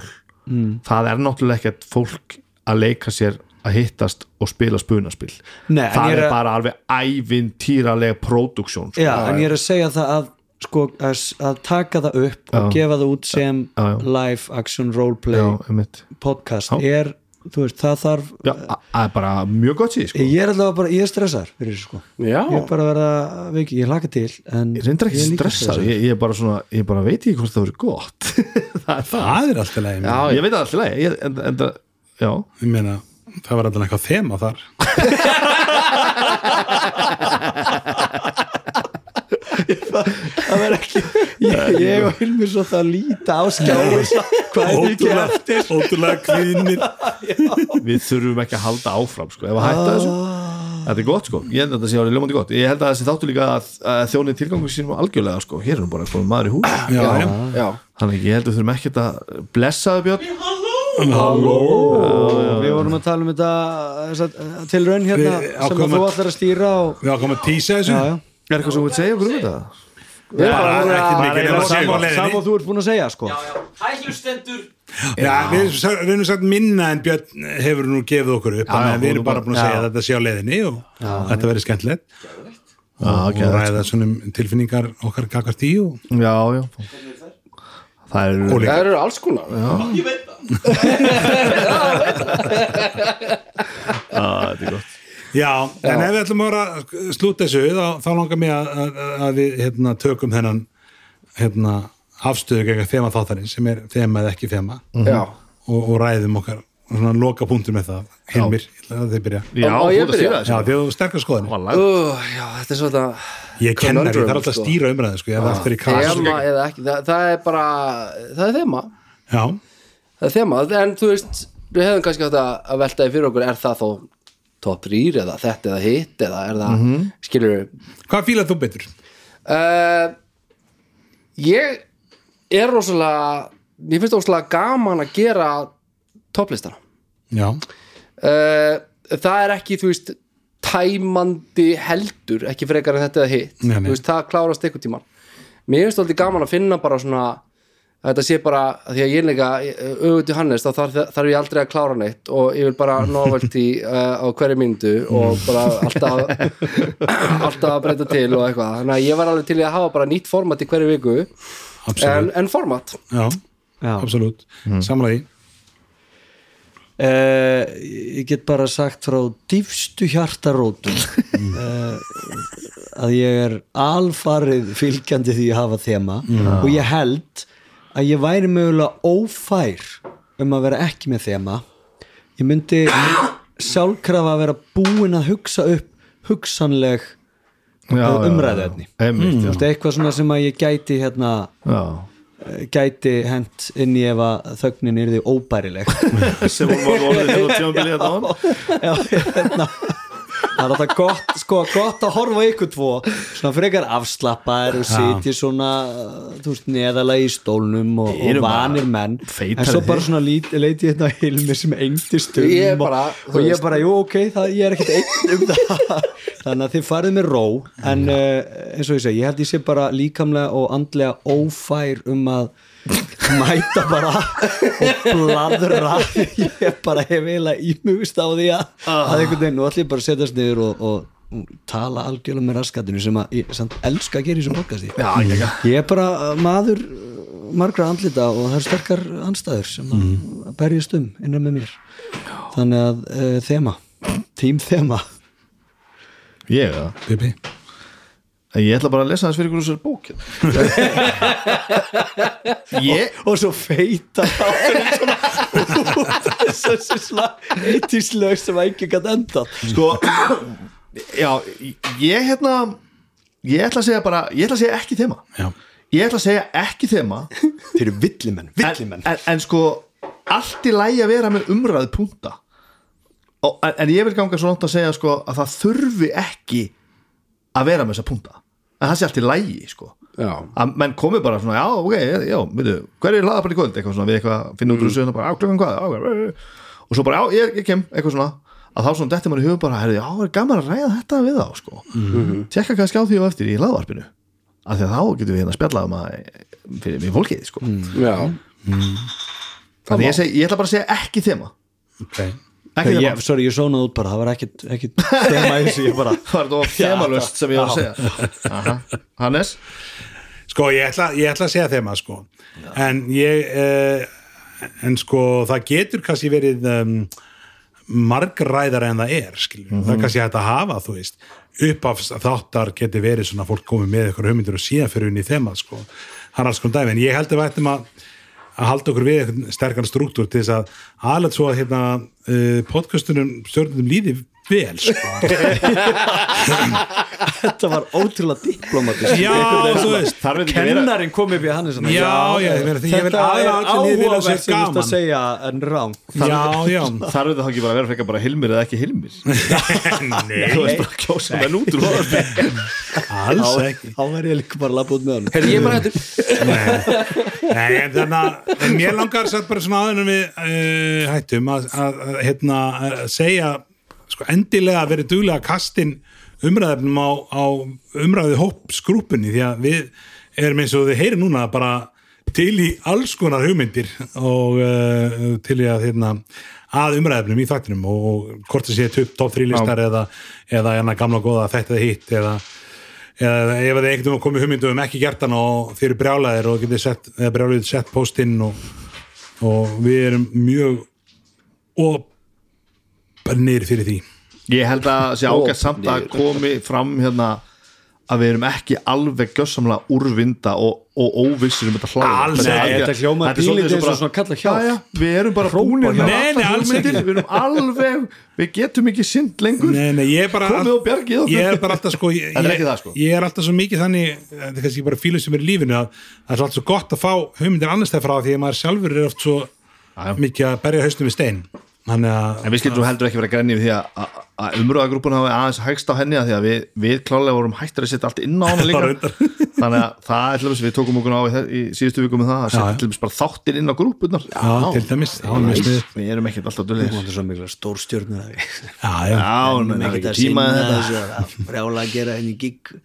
[SPEAKER 4] mm. það er náttúrulega ekkert fólk að leika sér að hittast og spila spunaspil
[SPEAKER 5] Nei, en
[SPEAKER 4] það
[SPEAKER 5] ég
[SPEAKER 4] er,
[SPEAKER 5] er að-
[SPEAKER 4] bara alveg ævintýralega produksjón sko.
[SPEAKER 5] Já, en ég er að segja það að sko, að, að taka það upp og gefa það út sem
[SPEAKER 4] Já, já.
[SPEAKER 5] live action roleplay
[SPEAKER 4] Já, einmitt.
[SPEAKER 5] podcast er, þú veist, það þarf
[SPEAKER 4] Já, a- það er bara mjög gott síð sko.
[SPEAKER 5] ég er allavega bara, ég er stressar fyrir þessu sko
[SPEAKER 1] Já.
[SPEAKER 5] ég er bara að vera, viki, ég laka til en
[SPEAKER 4] ég reyndar ekki
[SPEAKER 5] er líka sko.
[SPEAKER 4] stressað ég, ég, er bara svona, ég bara veit ekki hvort það verið gott það er það
[SPEAKER 3] það er alltaf leið,
[SPEAKER 4] Já, ég veit það alltaf leið ég, en, en, það- já,
[SPEAKER 3] ég meina það var alltaf eitthvað þema þar
[SPEAKER 5] það verð ekki, ég, ég og Hilmi svo það að líta á sko. skjáður hvað er ekki
[SPEAKER 3] ótrúlega, ótrúlega kviðnir
[SPEAKER 4] við þurfum ekki að halda áfram sko, ef að hætta þessu þetta er gott sko, ég held að þetta sé alveg ljómandi gott ég held að þessi þáttu líka að, að þjóni tilgangu sínum algjörlega sko, hér er hún bara eitthvað maður í hús
[SPEAKER 3] já, já.
[SPEAKER 1] já,
[SPEAKER 4] þannig að ég held að við þurfum ekki að blessaðu Björn
[SPEAKER 5] við vorum að tala um þetta þessa tilraun hérna
[SPEAKER 3] Við
[SPEAKER 5] sem
[SPEAKER 3] ákváðum
[SPEAKER 5] að þú
[SPEAKER 3] að-
[SPEAKER 5] allar að stýra og,
[SPEAKER 3] við ákvæmum að tísa þessu
[SPEAKER 5] já, já
[SPEAKER 4] er eitthvað sem þú vilt segja okkur um þetta?
[SPEAKER 3] bara ekki mikið nema að segja
[SPEAKER 5] sama,
[SPEAKER 3] á leiðinni.
[SPEAKER 5] sama og þú ert búin að segja sko
[SPEAKER 3] Já, við erum sa- við erum sagt minna en Björn hefur nú gefið okkur upp þannig að við erum bara búin að segja að þetta sé á leiðinni og þetta verður skemmtilegt
[SPEAKER 4] Já,
[SPEAKER 3] og
[SPEAKER 4] ok,
[SPEAKER 3] ræða svona um tilfinningar okkar gagvart í og
[SPEAKER 4] já, já það eru
[SPEAKER 3] Ólík.
[SPEAKER 1] Það eru alls konar
[SPEAKER 4] Ah, þetta er gott
[SPEAKER 3] Já, en ef við ætlum að vera að slúta þessu þá, þá langar mér að, að, að við hérna, tökum þennan hérna, afstöðu gegn þema þáttarins sem er þema eða ekki þema
[SPEAKER 1] Já
[SPEAKER 3] og, og ræðum okkar og svona loka punktur með það Hilmir, ég ætla að þið byrja Já,
[SPEAKER 4] Já,
[SPEAKER 1] Á- á
[SPEAKER 4] þú
[SPEAKER 1] ég
[SPEAKER 4] ert að
[SPEAKER 1] byrja?
[SPEAKER 4] stýra þessu
[SPEAKER 3] því að þú sterkar skoðin
[SPEAKER 4] Var lag-
[SPEAKER 1] Ú, Já, þetta er svona
[SPEAKER 3] Ég kennar, ég þarf alltaf að
[SPEAKER 1] sko.
[SPEAKER 3] stýra umræðu sko, ég hef eftir í kras
[SPEAKER 1] Þema eða ekki, það, það er bara það er þema,
[SPEAKER 3] Já,
[SPEAKER 1] það er þema en þú veist, við hefum kannski átt að að velta því fyrir okkur, er það þó top 3 eða þetta eða hitt eða er það, mm -hmm. skilur
[SPEAKER 3] hvað fílar þú betur?
[SPEAKER 1] Eh, ég er rosalega mér finnst rosalega gaman að gera topplistana
[SPEAKER 3] Já,
[SPEAKER 1] uh, það er ekki, þú veist tæmandi heldur ekki frekar en þetta eða hitt
[SPEAKER 3] Nei, nei.
[SPEAKER 1] Þú veist, það klárast eitthvað tíman mér finnst alltaf gaman að finna bara svona að þetta sé bara, að því að ég er líka auðvitað Hannes, þá þarf, þarf ég aldrei að klára neitt og ég vil bara novelty uh, á hverju myndu og bara alltaf alltaf að breyta til og eitthvað þannig að ég var alveg til í að hafa bara nýtt format í hverju viku en,
[SPEAKER 3] absolutt
[SPEAKER 1] en format
[SPEAKER 3] Já,
[SPEAKER 5] Já.
[SPEAKER 3] absolutt, samlaði
[SPEAKER 5] Eh, ég get bara sagt frá dýfstu hjartarótum eh, að ég er alfarið fylgjandi því að hafa þema og ég held að ég væri mögulega ófær um að vera ekki með þema ég myndi sjálfkrafa að vera búin að hugsa upp hugsanleg
[SPEAKER 4] Já, já,
[SPEAKER 5] umræðuefni.
[SPEAKER 4] já. Einmitt, já.
[SPEAKER 5] Þetta er eitthvað svona sem að ég gæti hérna
[SPEAKER 4] Já.
[SPEAKER 5] eh, gæti hent inn í ef að þögnin er því óbærileg
[SPEAKER 4] sem hún var orðið hérna tjónbilið þetta án
[SPEAKER 5] já, hérna það er alltaf gott, sko, gott að horfa á ykkur tvo svona frekar afslappaðir og sitja svona þú veist, neðalega í stólnum og, og
[SPEAKER 4] Erum bara
[SPEAKER 5] vanir menn en
[SPEAKER 4] feitari
[SPEAKER 5] svo bara
[SPEAKER 4] þeir.
[SPEAKER 5] svona lít, leiti ég hérna á Hilmi sem engdist um
[SPEAKER 1] Ég er bara,
[SPEAKER 5] og,
[SPEAKER 1] þú
[SPEAKER 5] og ég
[SPEAKER 1] veist.
[SPEAKER 5] bara, jú, ok, það, ég er ekkert einn um það þannig að þið farið með ró en uh, eins og ég segi, ég held ég sé bara líkamlega og andlega ófær um að mæta bara og bladra ég bara hef eiginlega ímugust á því að,
[SPEAKER 1] Ah.
[SPEAKER 5] að einhvern veginn, nú ætlum ég bara að setjast niður og, og tala algjörlega með raskatinu sem að ég samt elska að gera í þessum podcasti
[SPEAKER 4] Já, ég ekki.
[SPEAKER 5] ég er bara uh, maður uh, margra andlita og það eru sterkar anstæður sem að
[SPEAKER 3] Mm.
[SPEAKER 5] að berjast um innan með mér þannig að uh, þema, tím þema
[SPEAKER 4] Ég, já.
[SPEAKER 3] Bibi
[SPEAKER 4] En Ég ætla bara að lesa þess fyrir ykkur úr þessari bók hérna. Ég
[SPEAKER 5] og svo feita þátturinn svona út af þessu svona eittíslög sem að ekki gæti endað
[SPEAKER 4] sko Já, ég hérna Ég ætla að segja bara, ég ætla að segja ekki þema
[SPEAKER 3] Já,
[SPEAKER 4] Ég ætla að segja ekki þema
[SPEAKER 5] þeir eru villimenn,
[SPEAKER 4] en, en, en sko, allt í lægi að vera með umræðu púnta og, en, en ég vil ganga svo langt að segja sko, að það þurfi ekki að vera með þessa púnta en það sé allt í lægi sko.
[SPEAKER 1] Já.
[SPEAKER 4] að menn komi bara svona, já, ok, já, veitu hver er hlaðabarn í kvöld, eitthvað svona, við eitthvað finnum út úr þessu, hérna bara, á, klukkan hvað, á, hvað og svo bara, já, ég, ég kem, eitthvað svona að þá svona dettir mann í hugum bara, herri, já, er gaman að ræða þetta við þá, sko tekka kannski á því og eftir í hlaðavarpinu af því að þá getum við hérna að spjalla um að fyrir við fólkið, sko
[SPEAKER 1] já,
[SPEAKER 4] Þannig ég, seg, ég ætla bara að segja ekki þema
[SPEAKER 3] ok
[SPEAKER 4] Ekki þema,
[SPEAKER 5] ég, sorry, ég sónaði út bara, það var ekkit, ekkit þema í þessu, ég bara
[SPEAKER 4] það var þetta þemalust sem ég var að segja Aha. Hannes?
[SPEAKER 3] Sko, ég ætla, ég ætla að segja þeim að sko en ég eh, en sko, það getur kannski verið um, margræðar en það er, skiljum,
[SPEAKER 4] Mhm.
[SPEAKER 3] það er kannski hægt að hafa þú veist, uppaf þáttar getur verið svona fólk komið með ykkur hugmyndur og síðan fyrir unni þeim að sko það er alls konar dæmi, en ég held að við ættum að að halda okkur við einhvern sterkan struktúr til þess að aðlega svo að hérna uh, podcastunum stjórnum líði vel sko
[SPEAKER 5] þetta var ótrúlega diplomatist
[SPEAKER 3] Já, þú veist,
[SPEAKER 4] Þar veit ekki vera
[SPEAKER 5] kennarin kom upp í Hannes
[SPEAKER 3] Já, já, ég meina, ég vil
[SPEAKER 5] þetta
[SPEAKER 3] aðra
[SPEAKER 5] er
[SPEAKER 3] allir liðið vilja að sé
[SPEAKER 5] áhugavert sem þú ert
[SPEAKER 3] gaman.
[SPEAKER 5] að segja en rám
[SPEAKER 3] Já, já
[SPEAKER 4] Þar veit það ekki bara að vera frekar bara hilmir eða ekki hilmir
[SPEAKER 3] Nei,
[SPEAKER 4] Þú veist bara að kjósa menn út úr hlaðavarpinu.
[SPEAKER 3] alls ekki
[SPEAKER 5] þá verð ég líka bara að labba út með hann
[SPEAKER 1] heyrðu ég er bara hættur
[SPEAKER 3] Nei, en þannig að en mér langar satt bara svona aðunum við uh, hættum að, að, að hérna, að segja sko endilega að vera duglega kastin umræðefnum á, á umræði hópp skrúpunni því að við erum eins og þið heyri núna bara til í alls konar hugmyndir og uh, til í að hérna, að umræðefnum í þættinum og, og hvort það sé top 3 listar eða, eða hérna, gamla góða þetta eða hitt eða eða ef þið einhvern veginn komið hugmyndu um ekki gert hann og þeir eru brjálæðir og getið sett, eða brjálæðið sett postinn og, og við erum mjög og nýr fyrir því
[SPEAKER 4] Ég held að það sé ágætt samt að komi fram hérna að við erum ekki alveg gjössamlega úrvinda og, og óvissir um þetta hláð
[SPEAKER 3] Alls ekki.
[SPEAKER 5] Þetta hljómar pínlítið eins og svona kalla hjálp.
[SPEAKER 4] já, já, Við erum bara
[SPEAKER 5] Hrópa
[SPEAKER 4] búinir
[SPEAKER 5] hjálp.
[SPEAKER 4] með
[SPEAKER 3] Nei, nei,
[SPEAKER 4] allar
[SPEAKER 3] alls
[SPEAKER 4] hugmyndir,
[SPEAKER 3] ekki.
[SPEAKER 4] Við erum alveg, við getum ekki synd lengur
[SPEAKER 3] Nei, nei, ég er bara
[SPEAKER 4] Komið og bjargið okkur.
[SPEAKER 3] Ég er bara alltaf sko ég,
[SPEAKER 4] Þetta er ekki það, sko.
[SPEAKER 3] Ég er alltaf svo mikið þannig þetta er kannski bara fílum sem er í lífinu að það er svo alltaf svo gott að fá hugmyndir annars þegar frá því að maður sjálfur er oft svo
[SPEAKER 4] Já, já.
[SPEAKER 3] mikið að berja haustum við stein Þannig að
[SPEAKER 4] En við skildum heldur ekki vera grænni við því að- að- að umröðagrúpun hafi aðeins hægst á henni að því að við, við klálega vorum hættir að setja allt inn á hana líka
[SPEAKER 3] reyndar.
[SPEAKER 4] þannig að það er til dæmis, við tókum okkur á í, þe- í síðustu viku með það að setja til dæmis bara þáttir inn á grúpunar
[SPEAKER 3] Já, til dæmis, já, mjög sniðugt.
[SPEAKER 4] Við erum ekkert alltaf dullir
[SPEAKER 5] Það er svo mikla stórstjörnur að við
[SPEAKER 3] Já, já,
[SPEAKER 4] Já, en það er ekki tíma í þetta
[SPEAKER 5] þessu að brjála að gera henni gig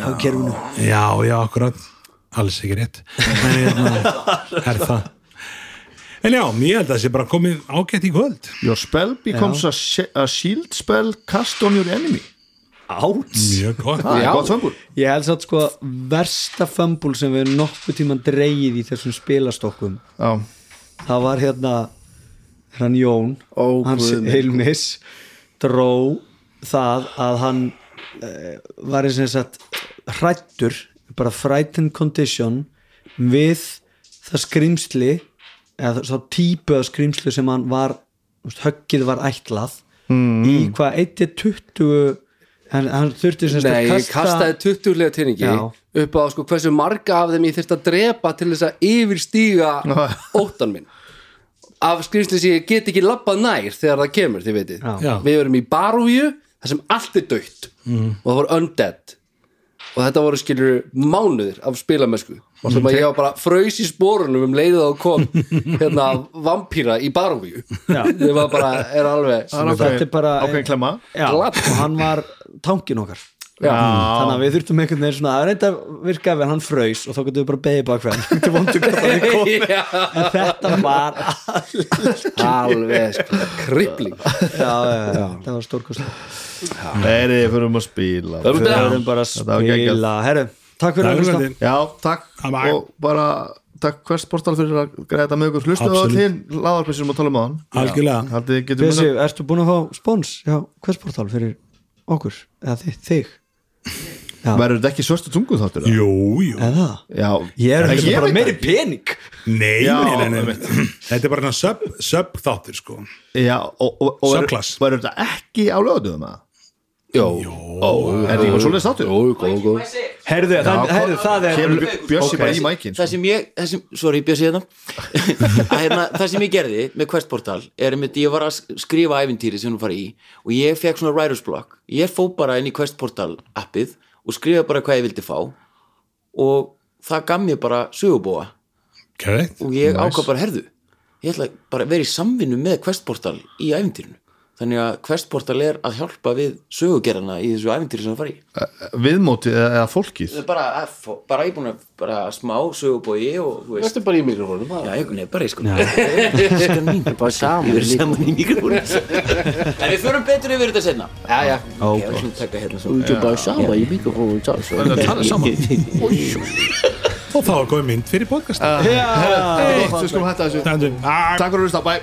[SPEAKER 5] á kerfinu
[SPEAKER 3] já, já, akkurat Alls ekki rétt En hérna, er það En já, ég held að það sé bara komið ágætt í kvöld
[SPEAKER 4] Your spell becomes a, shi- a shield spell cast on your enemy
[SPEAKER 5] Áts
[SPEAKER 3] Mjög gott
[SPEAKER 4] Það
[SPEAKER 1] Já.
[SPEAKER 4] er gott fengur
[SPEAKER 5] Ég held satt sko að versta fömbul sem við nokkuð tíman dreigið í þessum spilastokkum
[SPEAKER 4] Já,
[SPEAKER 5] það var hérna hann Jón,
[SPEAKER 1] Ó,
[SPEAKER 5] hans
[SPEAKER 1] guð minn.
[SPEAKER 5] heilmis dró það að hann uh, var eins og sagt hrættur, bara frightened condition við það skrýmsli eða svo típu af skrýmsli sem hann var þú veist, höggið var ætlað
[SPEAKER 1] Mm.
[SPEAKER 5] í hvað 1-20 hann, hann þurfti sem sagt
[SPEAKER 1] Nei, ég kastaði 20 lega teiningi
[SPEAKER 5] Já.
[SPEAKER 1] upp á sko hversu marga af þeim ég þyrst að drepa til þess að yfirstíga óttan minn af skrýmsli sem ég get ekki labbað nær þegar það kemur, þið veitir
[SPEAKER 5] Já.
[SPEAKER 1] við verum í barúju, þar sem allt er dögt og það voru undead og þetta voru skilur mánuðir af spilamösku og sem að ég var bara fröys í spórunum um leiðið að kom hérna vampíra í barúju ég var bara, er alveg
[SPEAKER 4] það er
[SPEAKER 5] Þetta er bara
[SPEAKER 4] ákveðin klemma
[SPEAKER 5] Já,
[SPEAKER 1] Glatt.
[SPEAKER 5] og hann var tankin okkar
[SPEAKER 1] já,
[SPEAKER 5] þannig að við þurftum einhvern veginn svona að reynda virka ef hann fraus og þá getum við bara beðið bakverð þetta vondu hvað það við komum
[SPEAKER 1] Já.
[SPEAKER 5] en þetta var já,
[SPEAKER 1] alveg sko, kripling
[SPEAKER 5] já, já, það var stórkostlega
[SPEAKER 4] Þeirri, förum að spila
[SPEAKER 1] Förum
[SPEAKER 5] við
[SPEAKER 1] Já.
[SPEAKER 5] erum bara að
[SPEAKER 4] Þetta var geggjað.
[SPEAKER 5] spila herru, takk fyrir
[SPEAKER 3] Takk
[SPEAKER 5] að
[SPEAKER 3] fyrir
[SPEAKER 5] hlusta
[SPEAKER 3] þetta.
[SPEAKER 4] Já, takk
[SPEAKER 3] Bye-bye.
[SPEAKER 4] og bara takk hvers portal fyrir að greiða þetta með okkur hlustaðu
[SPEAKER 3] Absolutt.
[SPEAKER 4] til laðarpessum og tala um á hann
[SPEAKER 3] Algjörlega,
[SPEAKER 4] Haldið þið getum
[SPEAKER 5] Bessi, ertu búin að fá spons já, hvers portal fyrir okkur eða þi- þig,
[SPEAKER 4] Verður þetta ekki svörstu tungu þáttur? það?
[SPEAKER 3] jú, jú
[SPEAKER 5] eða
[SPEAKER 4] Já,
[SPEAKER 5] ég er
[SPEAKER 4] En
[SPEAKER 5] hugsa bara
[SPEAKER 4] veit
[SPEAKER 5] meiri pening
[SPEAKER 3] Nei,
[SPEAKER 4] Já,
[SPEAKER 3] nei, nei, nei.
[SPEAKER 4] einmitt.
[SPEAKER 3] þetta er bara hérna sub, sub þáttir sko
[SPEAKER 4] það. Já, og, og, og verður-
[SPEAKER 3] Subclass.
[SPEAKER 4] verður þetta ekki á lögatöðum að?
[SPEAKER 1] Jó,
[SPEAKER 4] Er þetta ekki bara svoleiðis þáttur?
[SPEAKER 1] jó, góð, góð
[SPEAKER 5] herðu, það, herðu, það er
[SPEAKER 4] Kemur Bjö- Bjössi bara í mækin
[SPEAKER 6] það sem ég, það sem, sorry, bjössi hérna Að hérna, það sem ég gerði með questportal er einmitt, ég var að sk- skrifa æfintýri sem hún fari í og ég fekk svona writer's block ég fó bara inn í questportal appið og skrifa bara hvað ég vildi fá og það gaf mér bara sögubóa
[SPEAKER 3] Correct.
[SPEAKER 6] og ég nice. ákvað bara herðu ég ætla bara að vera í samvinnu með questportal í æfintýrinu þannig að questportal er að hjálpa við sögugerðana í þessu æfintýri sem hún fari í
[SPEAKER 4] Viðmótið eða eða fólkið
[SPEAKER 6] Það er bara, að fá- bara ég búin að bara smá sögubói og þú veist
[SPEAKER 1] Þetta er bara í mikrofónum
[SPEAKER 6] Já, ég nefnir bara í sko Skan mín Bara saman Við erum saman í mikrofónu En við förum betur yfir þetta setna Já,
[SPEAKER 1] já.
[SPEAKER 6] Ok, við skulum taka hérna svo Þú er bara saman í mikrofónu Það
[SPEAKER 4] að tala saman.
[SPEAKER 3] Og þá er góð mynd fyrir podcast uh,
[SPEAKER 4] Hey, Við skulum hætta þessu Takk fyrir að hlusta, bye